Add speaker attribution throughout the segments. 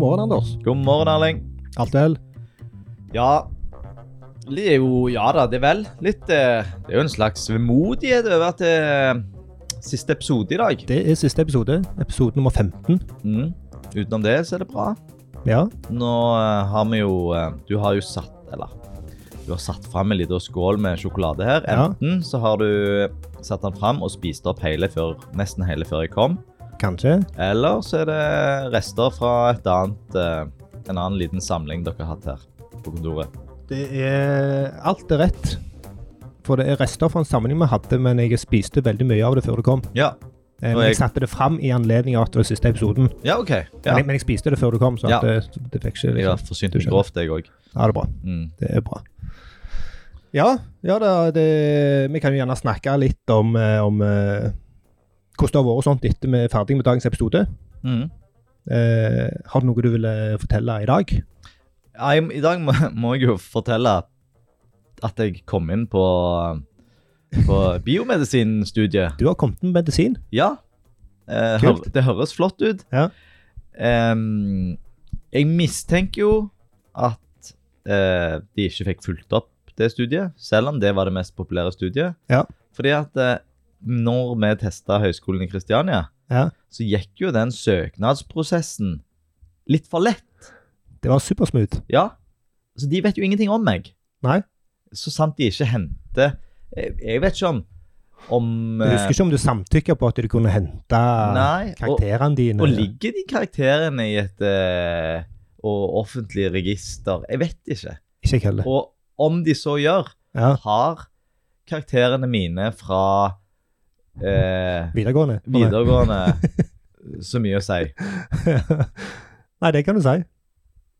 Speaker 1: morgen, Anders.
Speaker 2: God morgen, Erling.
Speaker 1: Alt vel?
Speaker 2: Ja, det er jo Ja da, det er vel. Litt eh, Det er jo en slags vemodighet over at det er siste episode i dag.
Speaker 1: Det er siste episode. Episode nummer 15.
Speaker 2: Mm. Utenom det så er det bra.
Speaker 1: Ja.
Speaker 2: Nå eh, har vi jo eh, Du har jo satt Eller du har satt fram en liten skål med sjokolade her.
Speaker 1: Ja.
Speaker 2: Enten så har du satt den fram og spist opp hele før, nesten hele før jeg kom,
Speaker 1: Kanskje.
Speaker 2: eller så er det rester fra et annet, eh, en annen liten samling dere har hatt her på kontoret.
Speaker 1: Det er Alt er rett. For det er rester fra en samling vi hadde, men jeg spiste veldig mye av det før det kom.
Speaker 2: Ja,
Speaker 1: Eh,
Speaker 2: Og
Speaker 1: Men jeg
Speaker 2: jeg-
Speaker 1: satte det fram i anledning av at det var siste episoden.
Speaker 2: ja OK.
Speaker 1: Men,
Speaker 2: Ja.
Speaker 1: jeg, men jeg spiste det før det kom, så
Speaker 2: Ja.
Speaker 1: at det, det fikk ikke
Speaker 2: Jeg har
Speaker 1: liksom.
Speaker 2: forsynt
Speaker 1: Du
Speaker 2: meg
Speaker 1: skjønner.
Speaker 2: grovt, jeg òg.
Speaker 1: Ja, det er bra.
Speaker 2: Mm.
Speaker 1: Det er bra. Ja, ja da, det, vi kan jo gjerne snakke litt om, eh, om eh, hvordan det har vært og sånt etter vi er ferdig med dagens episode.
Speaker 2: Mm.
Speaker 1: Eh, har du noe du ville fortelle i dag?
Speaker 2: Ja, jeg, I dag må, må jeg jo fortelle at jeg kom inn på, på biomedisinstudiet.
Speaker 1: Du har kommet med medisin.
Speaker 2: Ja. Eh,
Speaker 1: Kult.
Speaker 2: hør- det høres flott ut.
Speaker 1: Ja.
Speaker 2: Em, jeg mistenker jo at eh, de ikke fikk fulgt opp det studiet, selv om det var det mest populære studiet.
Speaker 1: Ja.
Speaker 2: Fordi at eh, når vi testa Høgskolen i Kristiania,
Speaker 1: Ja.
Speaker 2: så gikk jo den søknadsprosessen litt for lett.
Speaker 1: Det var supersmooth.
Speaker 2: Ja. Så de vet jo ingenting om meg.
Speaker 1: Nei.
Speaker 2: Så sant de ikke henter Jeg jeg vet ikke om, om eh,
Speaker 1: Jeg husker ikke om du samtykker på at du kunne hente
Speaker 2: Nei. Og,
Speaker 1: karakterene dine.
Speaker 2: og ligger de karakterene i et eh, og offentlig register? Jeg vet ikke.
Speaker 1: Ikke jeg heller.
Speaker 2: Og om de så gjør,
Speaker 1: Ja,
Speaker 2: har karakterene mine fra eh,
Speaker 1: videregående.
Speaker 2: videregående så mye å si.
Speaker 1: Nei, det kan du si.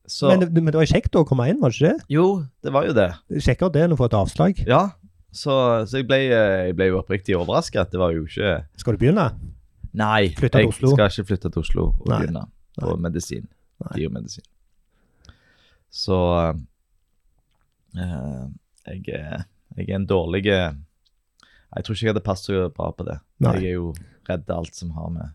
Speaker 2: Så
Speaker 1: Men, det- men det var kjekt å komme inn, var det ikke det?
Speaker 2: Jo, det var jo det.
Speaker 1: Kjekkere det enn å få et avslag.
Speaker 2: Ja. Så, så jeg, ble, eh, jeg ble jo oppriktig overraska. Det var jo ikke
Speaker 1: Skal du begynne?
Speaker 2: Nei,
Speaker 1: Flytte til
Speaker 2: jeg
Speaker 1: Oslo.
Speaker 2: skal ikke flytte til Oslo og
Speaker 1: Nei.
Speaker 2: begynne på medisin.
Speaker 1: Nei.
Speaker 2: Biomedisin. Så eh, jeg, er- jeg er en dårlig Jeg tror ikke jeg hadde passet så bra på det.
Speaker 1: Nei.
Speaker 2: Jeg er jo redd alt som har med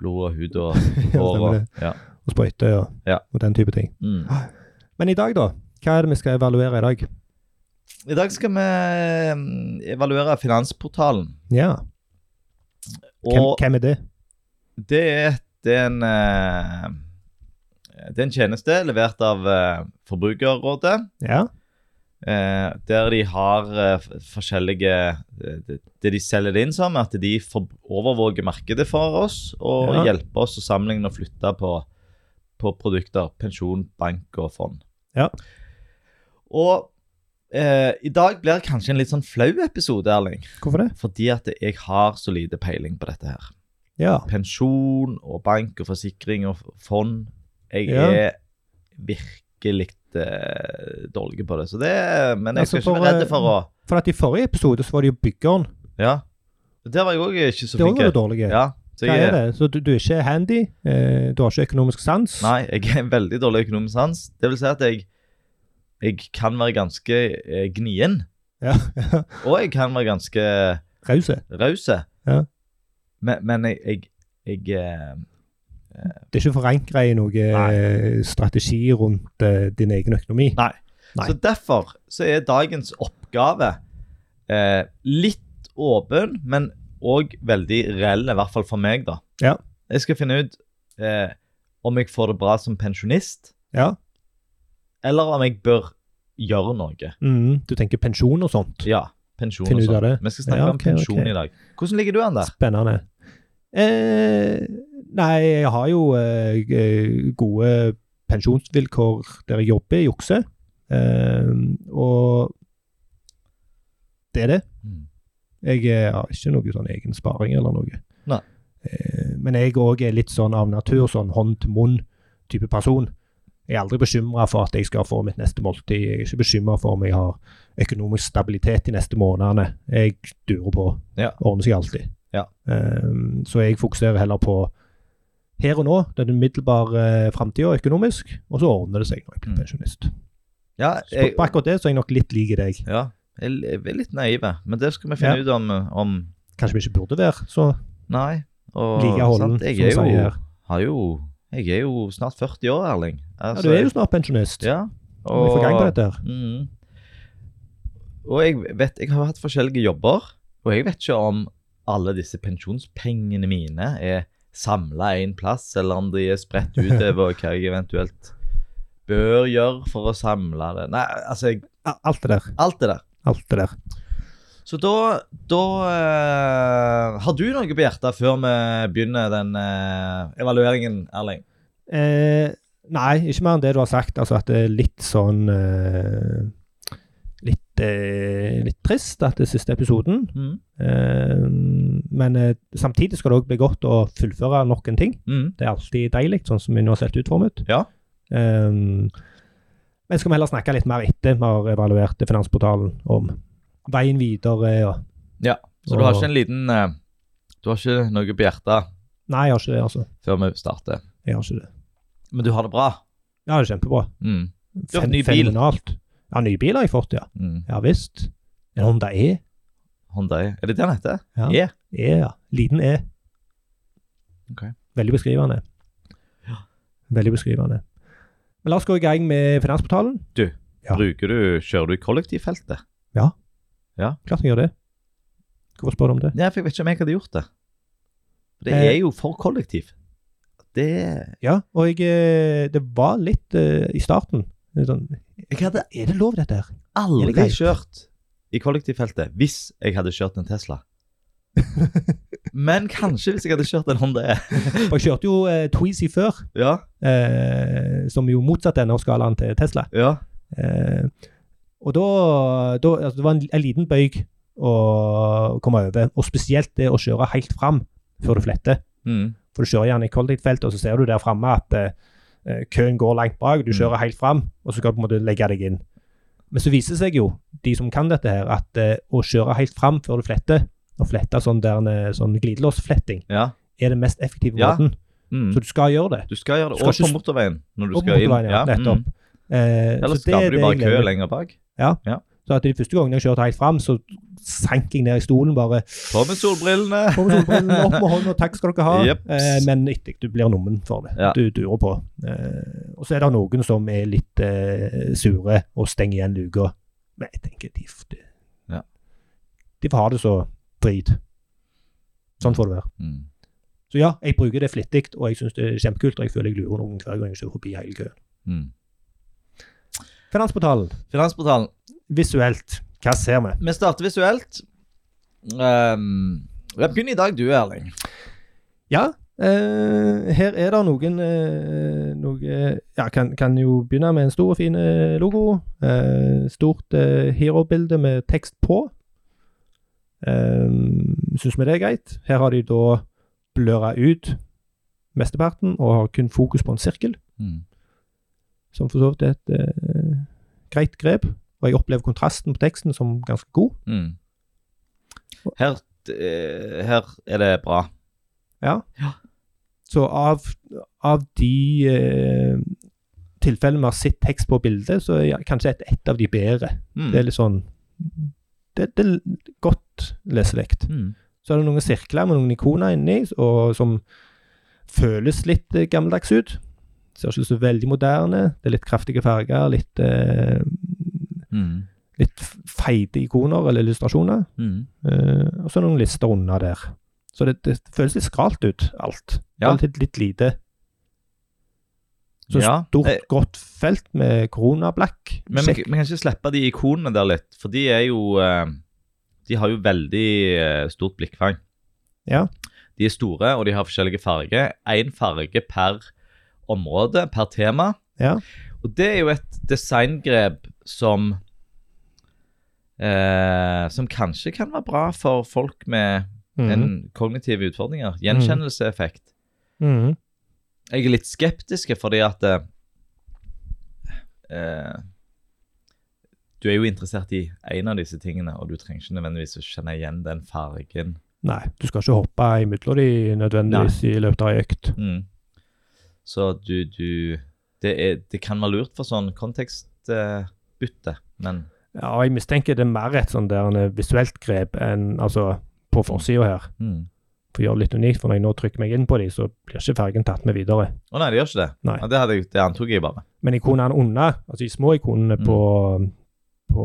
Speaker 2: blod og hud og hår
Speaker 1: Stemmer
Speaker 2: og
Speaker 1: det.
Speaker 2: ja.
Speaker 1: Og sprøyte og,
Speaker 2: Ja.
Speaker 1: og den type ting.
Speaker 2: mm.
Speaker 1: Men i dag, da? Hva er det vi skal evaluere i dag?
Speaker 2: I dag skal vi mm, evaluere Finansportalen.
Speaker 1: Ja, hvem,
Speaker 2: Og
Speaker 1: hvem er det?
Speaker 2: det er, det er en eh, Det er en tjeneste levert av eh, Forbrukerrådet.
Speaker 1: Ja,
Speaker 2: Eh, der de har eh, f- forskjellige eh, det, det de selger det inn som, er at de for, overvåker markedet for oss og
Speaker 1: Ja.
Speaker 2: hjelper oss å sammenligne og flytte på, på produkter. Pensjon, bank og fond.
Speaker 1: Ja.
Speaker 2: Og eh, i dag blir det kanskje en litt sånn flau episode, Erling.
Speaker 1: hvorfor det?
Speaker 2: Fordi at jeg har så lite peiling på dette her.
Speaker 1: Ja,
Speaker 2: Pensjon og bank og forsikring og f- fond. Jeg
Speaker 1: Ja.
Speaker 2: er virkelig eh, dårlig på det. Så det, men jeg
Speaker 1: Altså,
Speaker 2: skal ikke
Speaker 1: for,
Speaker 2: være
Speaker 1: eh,
Speaker 2: redd for å
Speaker 1: for at i forrige episode så var det jo byggeren.
Speaker 2: Ja. Der var jeg òg ikke så
Speaker 1: Det var
Speaker 2: flink.
Speaker 1: jo dårlig.
Speaker 2: Ja, så
Speaker 1: Hva er
Speaker 2: jeg,
Speaker 1: det? Så du, du er ikke handy, eh, du har ikke økonomisk sans?
Speaker 2: nei, jeg er en veldig dårlig økonomisk sans. Det vil si at jeg, jeg kan være ganske eh, gnien,
Speaker 1: Ja, ja.
Speaker 2: og jeg kan være ganske
Speaker 1: Rause.
Speaker 2: raus.
Speaker 1: Ja.
Speaker 2: Men, men jeg, jeg, jeg eh,
Speaker 1: Det er ikke forankra i noe eh, strategi rundt eh, din egen økonomi.
Speaker 2: Nei.
Speaker 1: Nei.
Speaker 2: Så derfor så er dagens oppgave eh, litt åpen, men òg veldig reell, i hvert fall for meg, da.
Speaker 1: Ja.
Speaker 2: Jeg skal finne ut eh, om jeg får det bra som pensjonist,
Speaker 1: Ja.
Speaker 2: eller om jeg bør gjøre noe.
Speaker 1: Mhm, du tenker pensjon og sånt.
Speaker 2: Ja, pensjon
Speaker 1: Finne ut
Speaker 2: og
Speaker 1: av
Speaker 2: sånn.
Speaker 1: det.
Speaker 2: Vi skal snakke
Speaker 1: Ja,
Speaker 2: om
Speaker 1: ok,
Speaker 2: pensjon
Speaker 1: ok.
Speaker 2: i dag. Hvordan ligger du an der?
Speaker 1: Spennende. Eh, nei, jeg har jo eh, eh, gode pensjonsvilkår der jeg jobber, i jukse. Eh, og det er det.
Speaker 2: Mm.
Speaker 1: Jeg eh, har ikke noe sånn egen sparing eller noe.
Speaker 2: Nei.
Speaker 1: Eh, Men jeg òg er litt sånn av natur, sånn hånd til munn-type person. Jeg er aldri bekymra for at jeg skal få mitt neste måltid. Jeg er ikke bekymra for om jeg har økonomisk stabilitet de neste månedene. Jeg durer på.
Speaker 2: Ja.
Speaker 1: Ordner seg alltid.
Speaker 2: Ja.
Speaker 1: Eh, Så jeg fokuserer heller på her og nå, den umiddelbare framtida økonomisk, og så ordner det seg når jeg blir
Speaker 2: Mm.
Speaker 1: pensjonist.
Speaker 2: Ja,
Speaker 1: Så
Speaker 2: jeg,
Speaker 1: på akkurat det så er jeg nok litt lik deg.
Speaker 2: ja, jeg jeg er litt naiv, men det skal vi finne
Speaker 1: Ja.
Speaker 2: ut om, om
Speaker 1: Kanskje vi ikke burde være så
Speaker 2: Nei. Og
Speaker 1: like holden,
Speaker 2: sant, jeg
Speaker 1: som vi sier
Speaker 2: er jo,
Speaker 1: her.
Speaker 2: har jo Jeg er jo snart 40 år, Erling.
Speaker 1: Ja,
Speaker 2: Altså,
Speaker 1: du er jo snart pensjonist.
Speaker 2: Ja.
Speaker 1: Må vi få gang på dette her.
Speaker 2: Mhm. Og jeg vet, jeg har hatt forskjellige jobber, og jeg vet ikke om alle disse pensjonspengene mine er samla en plass, eller om de er spredt utover hva jeg eventuelt bør gjøre for å samle det. Nei, altså, jeg,
Speaker 1: A- Alt det der.
Speaker 2: alt det der.
Speaker 1: Alt det der.
Speaker 2: Så da, da eh, Har du noe på hjertet før vi begynner den eh, evalueringen, Erling?
Speaker 1: Eh, nei, ikke mer enn det du har sagt. Altså at det er litt sånn eh, litt, eh, litt trist at det er siste episoden.
Speaker 2: Mhm.
Speaker 1: Eh, men eh, samtidig skal det òg bli godt å fullføre nok en ting.
Speaker 2: Mhm.
Speaker 1: Det er alltid deilig, sånn som vi nå har sett utformet.
Speaker 2: Ja.
Speaker 1: Eh, men skal vi heller snakke litt mer etter vi har evaluert Finansportalen, om veien videre. Og...
Speaker 2: Så du har
Speaker 1: Og-
Speaker 2: ikke en liten eh, Du har ikke noe på hjertet
Speaker 1: Nei, jeg har ikke det, altså.
Speaker 2: før vi starter?
Speaker 1: Jeg har ikke det.
Speaker 2: Men du har det bra?
Speaker 1: Jeg har det kjempebra.
Speaker 2: Mm. Du har
Speaker 1: Fen-
Speaker 2: ny bil.
Speaker 1: Fenomenalt. Ja, ny bil har jeg fått, ja.
Speaker 2: Mm.
Speaker 1: Ja visst. En Honda E.
Speaker 2: Honda E. Er det det den heter?
Speaker 1: Ja.
Speaker 2: E.
Speaker 1: E, ja. Liten E.
Speaker 2: Ok.
Speaker 1: Veldig beskrivende. Veldig beskrivende. Men la oss gå i gang med Finansportalen. Ja.
Speaker 2: Bruker du, kjører du i kollektivfeltet?
Speaker 1: Klart vi gjør det. Hvorfor spør du om det?
Speaker 2: Nei, for jeg vet ikke om jeg hadde gjort det. Det
Speaker 1: Eh.
Speaker 2: er jo for kollektiv. Det
Speaker 1: Ja, og jeg, eh, det var litt eh, i starten litt sånn,
Speaker 2: Jeg hadde
Speaker 1: Er det lov, dette her? Er
Speaker 2: aldri
Speaker 1: det greit?
Speaker 2: kjørt i kollektivfeltet hvis jeg hadde kjørt en Tesla. Men kanskje hvis jeg hadde kjørt en Honda E.
Speaker 1: For jeg kjørte jo eh, Tweezy før,
Speaker 2: Ja,
Speaker 1: eh, som jo motsatte enden av skalaen til Tesla.
Speaker 2: ja.
Speaker 1: Eh, og da, da altså, Det var en, en liten bøyg å komme over, og spesielt det å kjøre helt fram før du fletter.
Speaker 2: Mm.
Speaker 1: For du kjører gjerne i kollektivfeltet, og så ser du der framme at eh, eh, køen går langt bak.
Speaker 2: Mm.
Speaker 1: Du kjører helt fram, og så skal du på en måte legge deg inn. Men så viser det seg jo, de som kan dette her, at eh, å kjøre helt fram før du fletter, og flette sånn, der, en, eh, sånn glidelåsfletting,
Speaker 2: ja.
Speaker 1: er den mest effektive
Speaker 2: Ja.
Speaker 1: måten.
Speaker 2: Mm.
Speaker 1: Så du skal gjøre det.
Speaker 2: Du skal gjøre det
Speaker 1: Skal
Speaker 2: også
Speaker 1: ikke
Speaker 2: på motorveien når du
Speaker 1: Og på
Speaker 2: skal inn.
Speaker 1: motorveien, ja, nettopp.
Speaker 2: Mm.
Speaker 1: Eh, så
Speaker 2: Ellers
Speaker 1: det er
Speaker 2: skaper
Speaker 1: det
Speaker 2: du bare
Speaker 1: jeg
Speaker 2: kø
Speaker 1: gleder meg
Speaker 2: lenger bak.
Speaker 1: Så at de første gangene jeg kjørte helt fram, så sank jeg ned i stolen bare
Speaker 2: På med solbrillene.
Speaker 1: på med solbrillene, opp med hånda, takk skal dere ha.
Speaker 2: Jeps.
Speaker 1: Eh, men etter, du blir nummen for det.
Speaker 2: Ja.
Speaker 1: Du durer på. Eh, og så er det noen som er litt eh, sure og stenger igjen luka. Men jeg tenker de, f- de,
Speaker 2: Ja.
Speaker 1: de får ha det så drit. Sånn får det være.
Speaker 2: Mm.
Speaker 1: Så ja, jeg bruker det flittig, og jeg syns det er kjempekult. Og jeg føler jeg lurer noen hver gang jeg kjører forbi hele køen.
Speaker 2: Mm.
Speaker 1: Finansportalen.
Speaker 2: Finansportalen.
Speaker 1: Visuelt, hva ser vi?
Speaker 2: Vi starter visuelt. Um, ja, Begynn i dag, du, Erling.
Speaker 1: Ja, eh, her er det noen eh, noe, Ja, kan, kan jo begynne med en stor og fin eh, logo. Eh, stort eh, hero-bilde med tekst på. Eh, Syns vi det er greit. Her har de da bløra ut mesteparten og har kun fokus på en sirkel,
Speaker 2: Mm,
Speaker 1: som for så vidt er et eh, greit grep. Og jeg opplever kontrasten på teksten som ganske god.
Speaker 2: Mm. Her, eh, her er det bra.
Speaker 1: Så av, av de eh, tilfellene vi har sett tekst på bildet, så er ja- kanskje et, et av de bedre.
Speaker 2: Mm.
Speaker 1: Det er litt sånn Det, det er godt leselikt.
Speaker 2: Mm.
Speaker 1: Så er det noen sirkler med noen ikoner inni, og som føles litt eh, gammeldags ut. Ser ikke så veldig moderne. Det er litt kraftige farger, litt, eh,
Speaker 2: Mm.
Speaker 1: litt f- feite ikoner eller illustrasjoner.
Speaker 2: Mm.
Speaker 1: Eh, og så er det noen lister unna der. Så det, det føles litt skralt ut, alt.
Speaker 2: Ja.
Speaker 1: Relativt litt lite. Så
Speaker 2: Ja.
Speaker 1: stort,
Speaker 2: Eh,
Speaker 1: godt felt med koronablakk.
Speaker 2: Men vi,
Speaker 1: Sjekk.
Speaker 2: vi kan ikke slippe de ikonene der litt, for de er jo eh, De har jo veldig eh, stort blikkfang.
Speaker 1: Ja.
Speaker 2: De er store, og de har forskjellige farger. Én farge per område, per tema.
Speaker 1: Ja.
Speaker 2: Og det er jo et designgrep som eh, Som kanskje kan være bra for folk med
Speaker 1: Mm.
Speaker 2: en kognitive utfordringer. Gjenkjennelseeffekt.
Speaker 1: Mhm. Mhm.
Speaker 2: Jeg er litt skeptisk fordi at eh, eh, Du er jo interessert i en av disse tingene, og du trenger ikke nødvendigvis å kjenne igjen den fargen.
Speaker 1: Nei, du skal ikke hoppe imellom de nødvendigvis i løpet av ei økt.
Speaker 2: Mm. Så du, du det, er, det kan være lurt for sånn kontekstbytte, men
Speaker 1: Ja, og jeg eh, mistenker det er mer et sånn der en visuelt grep enn altså på forsida her.
Speaker 2: mm.
Speaker 1: For å gjøre det litt unikt, for når jeg nå trykker meg inn på de, så blir ikke fergen tatt med videre.
Speaker 2: Å nei, det gjør ikke det.
Speaker 1: Nei.
Speaker 2: Ja, det, hadde jeg, det antok jeg bare.
Speaker 1: Men ikonene under, altså de små ikonene
Speaker 2: Mm.
Speaker 1: på, på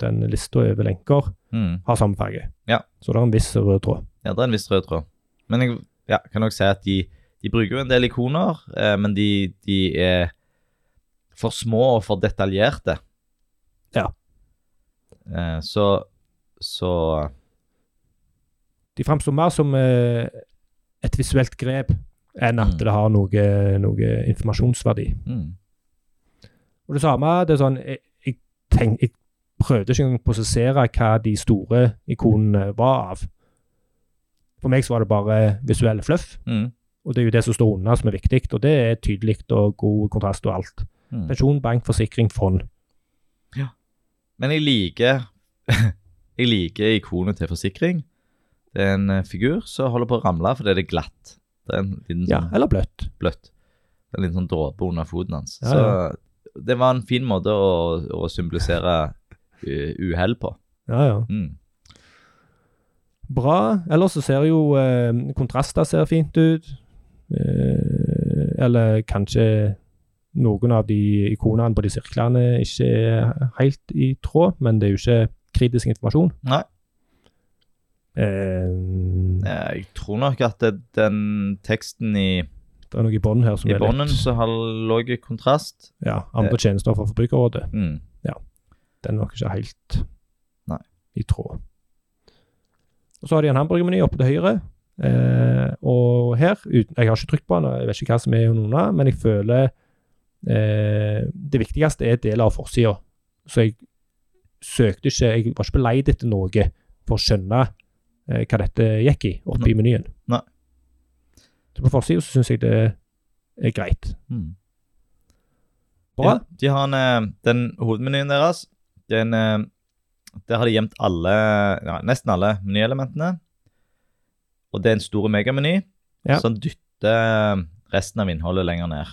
Speaker 1: den lista over lenker,
Speaker 2: Mm.
Speaker 1: har samme farge.
Speaker 2: Ja.
Speaker 1: Så det er en viss rød tråd.
Speaker 2: Ja, det er en viss rød tråd. Men jeg ja, kan nok si at de, de bruker jo en del ikoner, eh, men de, de er for små og for detaljerte.
Speaker 1: Ja.
Speaker 2: Eh, så så
Speaker 1: De framstår mer som eh, et visuelt grep enn at
Speaker 2: Mm.
Speaker 1: det har noe, noe informasjonsverdi.
Speaker 2: mm.
Speaker 1: Og det samme, det er sånn Jeg, jeg, tenk, jeg prøvde ikke engang å prosessere hva de store ikonene var av. For meg så var det bare visuell fluff,
Speaker 2: Mm.
Speaker 1: og det er jo det som står unna som er viktig, og det er tydelig og god kontrast og alt.
Speaker 2: Mm.
Speaker 1: Pensjon, bank, forsikring, fond.
Speaker 2: Men jeg liker Jeg liker ikonet til forsikring. Det er en eh, figur som holder på å ramle fordi det er glatt. Det er en liten
Speaker 1: Ja,
Speaker 2: sånn
Speaker 1: eller bløtt.
Speaker 2: bløtt. Det er en liten sånn dråpe under foten hans.
Speaker 1: Ja,
Speaker 2: Så det var en fin måte å, å symbolisere eh, uhell på.
Speaker 1: Ja, ja.
Speaker 2: Mm.
Speaker 1: Bra. Ellers så ser jo eh, kontraster ser fint ut. Eh, eller kanskje noen av de ikonene på de sirklene ikke er helt i tråd, men det er jo ikke kritisk informasjon.
Speaker 2: Nei,
Speaker 1: Eh,
Speaker 2: eh, jeg tror nok at det, den teksten i,
Speaker 1: det er noe i bånn her som
Speaker 2: i Eh.
Speaker 1: er
Speaker 2: bånden
Speaker 1: litt
Speaker 2: så har lav kontrast.
Speaker 1: ja, Andre tjenester fra Forbrukerrådet.
Speaker 2: Mm.
Speaker 1: Den er nok ikke helt
Speaker 2: Nei.
Speaker 1: i tråd. Og Så har de en hamburgermeny oppe til høyre. Eh, og her uten, Jeg har ikke trykt på den, og jeg vet ikke hva som er under, men jeg føler eh, Det viktigste er deler av forsida. Så jeg søkte ikke Jeg var ikke på leit etter noe for å skjønne eh, hva dette gikk i, oppe i menyen.
Speaker 2: Mm. Nei.
Speaker 1: Så på forsida syns jeg det er greit.
Speaker 2: Mm.
Speaker 1: Bra.
Speaker 2: Ja, de har en, eh, den hovedmenyen deres. Den, eh, der har de gjemt alle, ja, nesten alle menyelementene. Og det er en stor megameny
Speaker 1: Ja.
Speaker 2: som dytter eh, resten av innholdet lenger ned.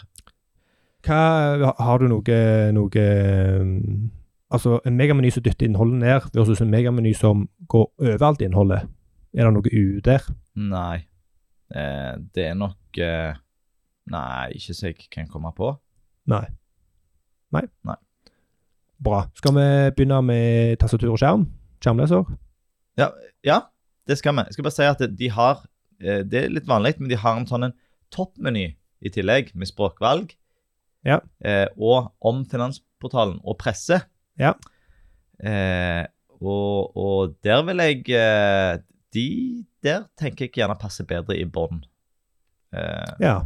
Speaker 1: Hva, har du noe, noe um, Altså, en megameny som dytter innholdet ned, versus en megameny som går over alt innholdet. Er det noe u der?
Speaker 2: Nei. Eh, det er nok eh, Nei, ikke så jeg kan komme på.
Speaker 1: Nei. Nei?
Speaker 2: Nei.
Speaker 1: Bra. Skal vi begynne med tastatur og skjerm? Skjermleser?
Speaker 2: Ja, det skal vi. Jeg skal bare si at de har eh, Det er litt vanlig, men de har en sånn en toppmeny i tillegg, med språkvalg.
Speaker 1: Ja.
Speaker 2: Eh, og om finansportalen og presse.
Speaker 1: Ja.
Speaker 2: Eh, og, og der vil jeg eh, De der tenker jeg gjerne passer bedre i bånn. Eh,
Speaker 1: Ja.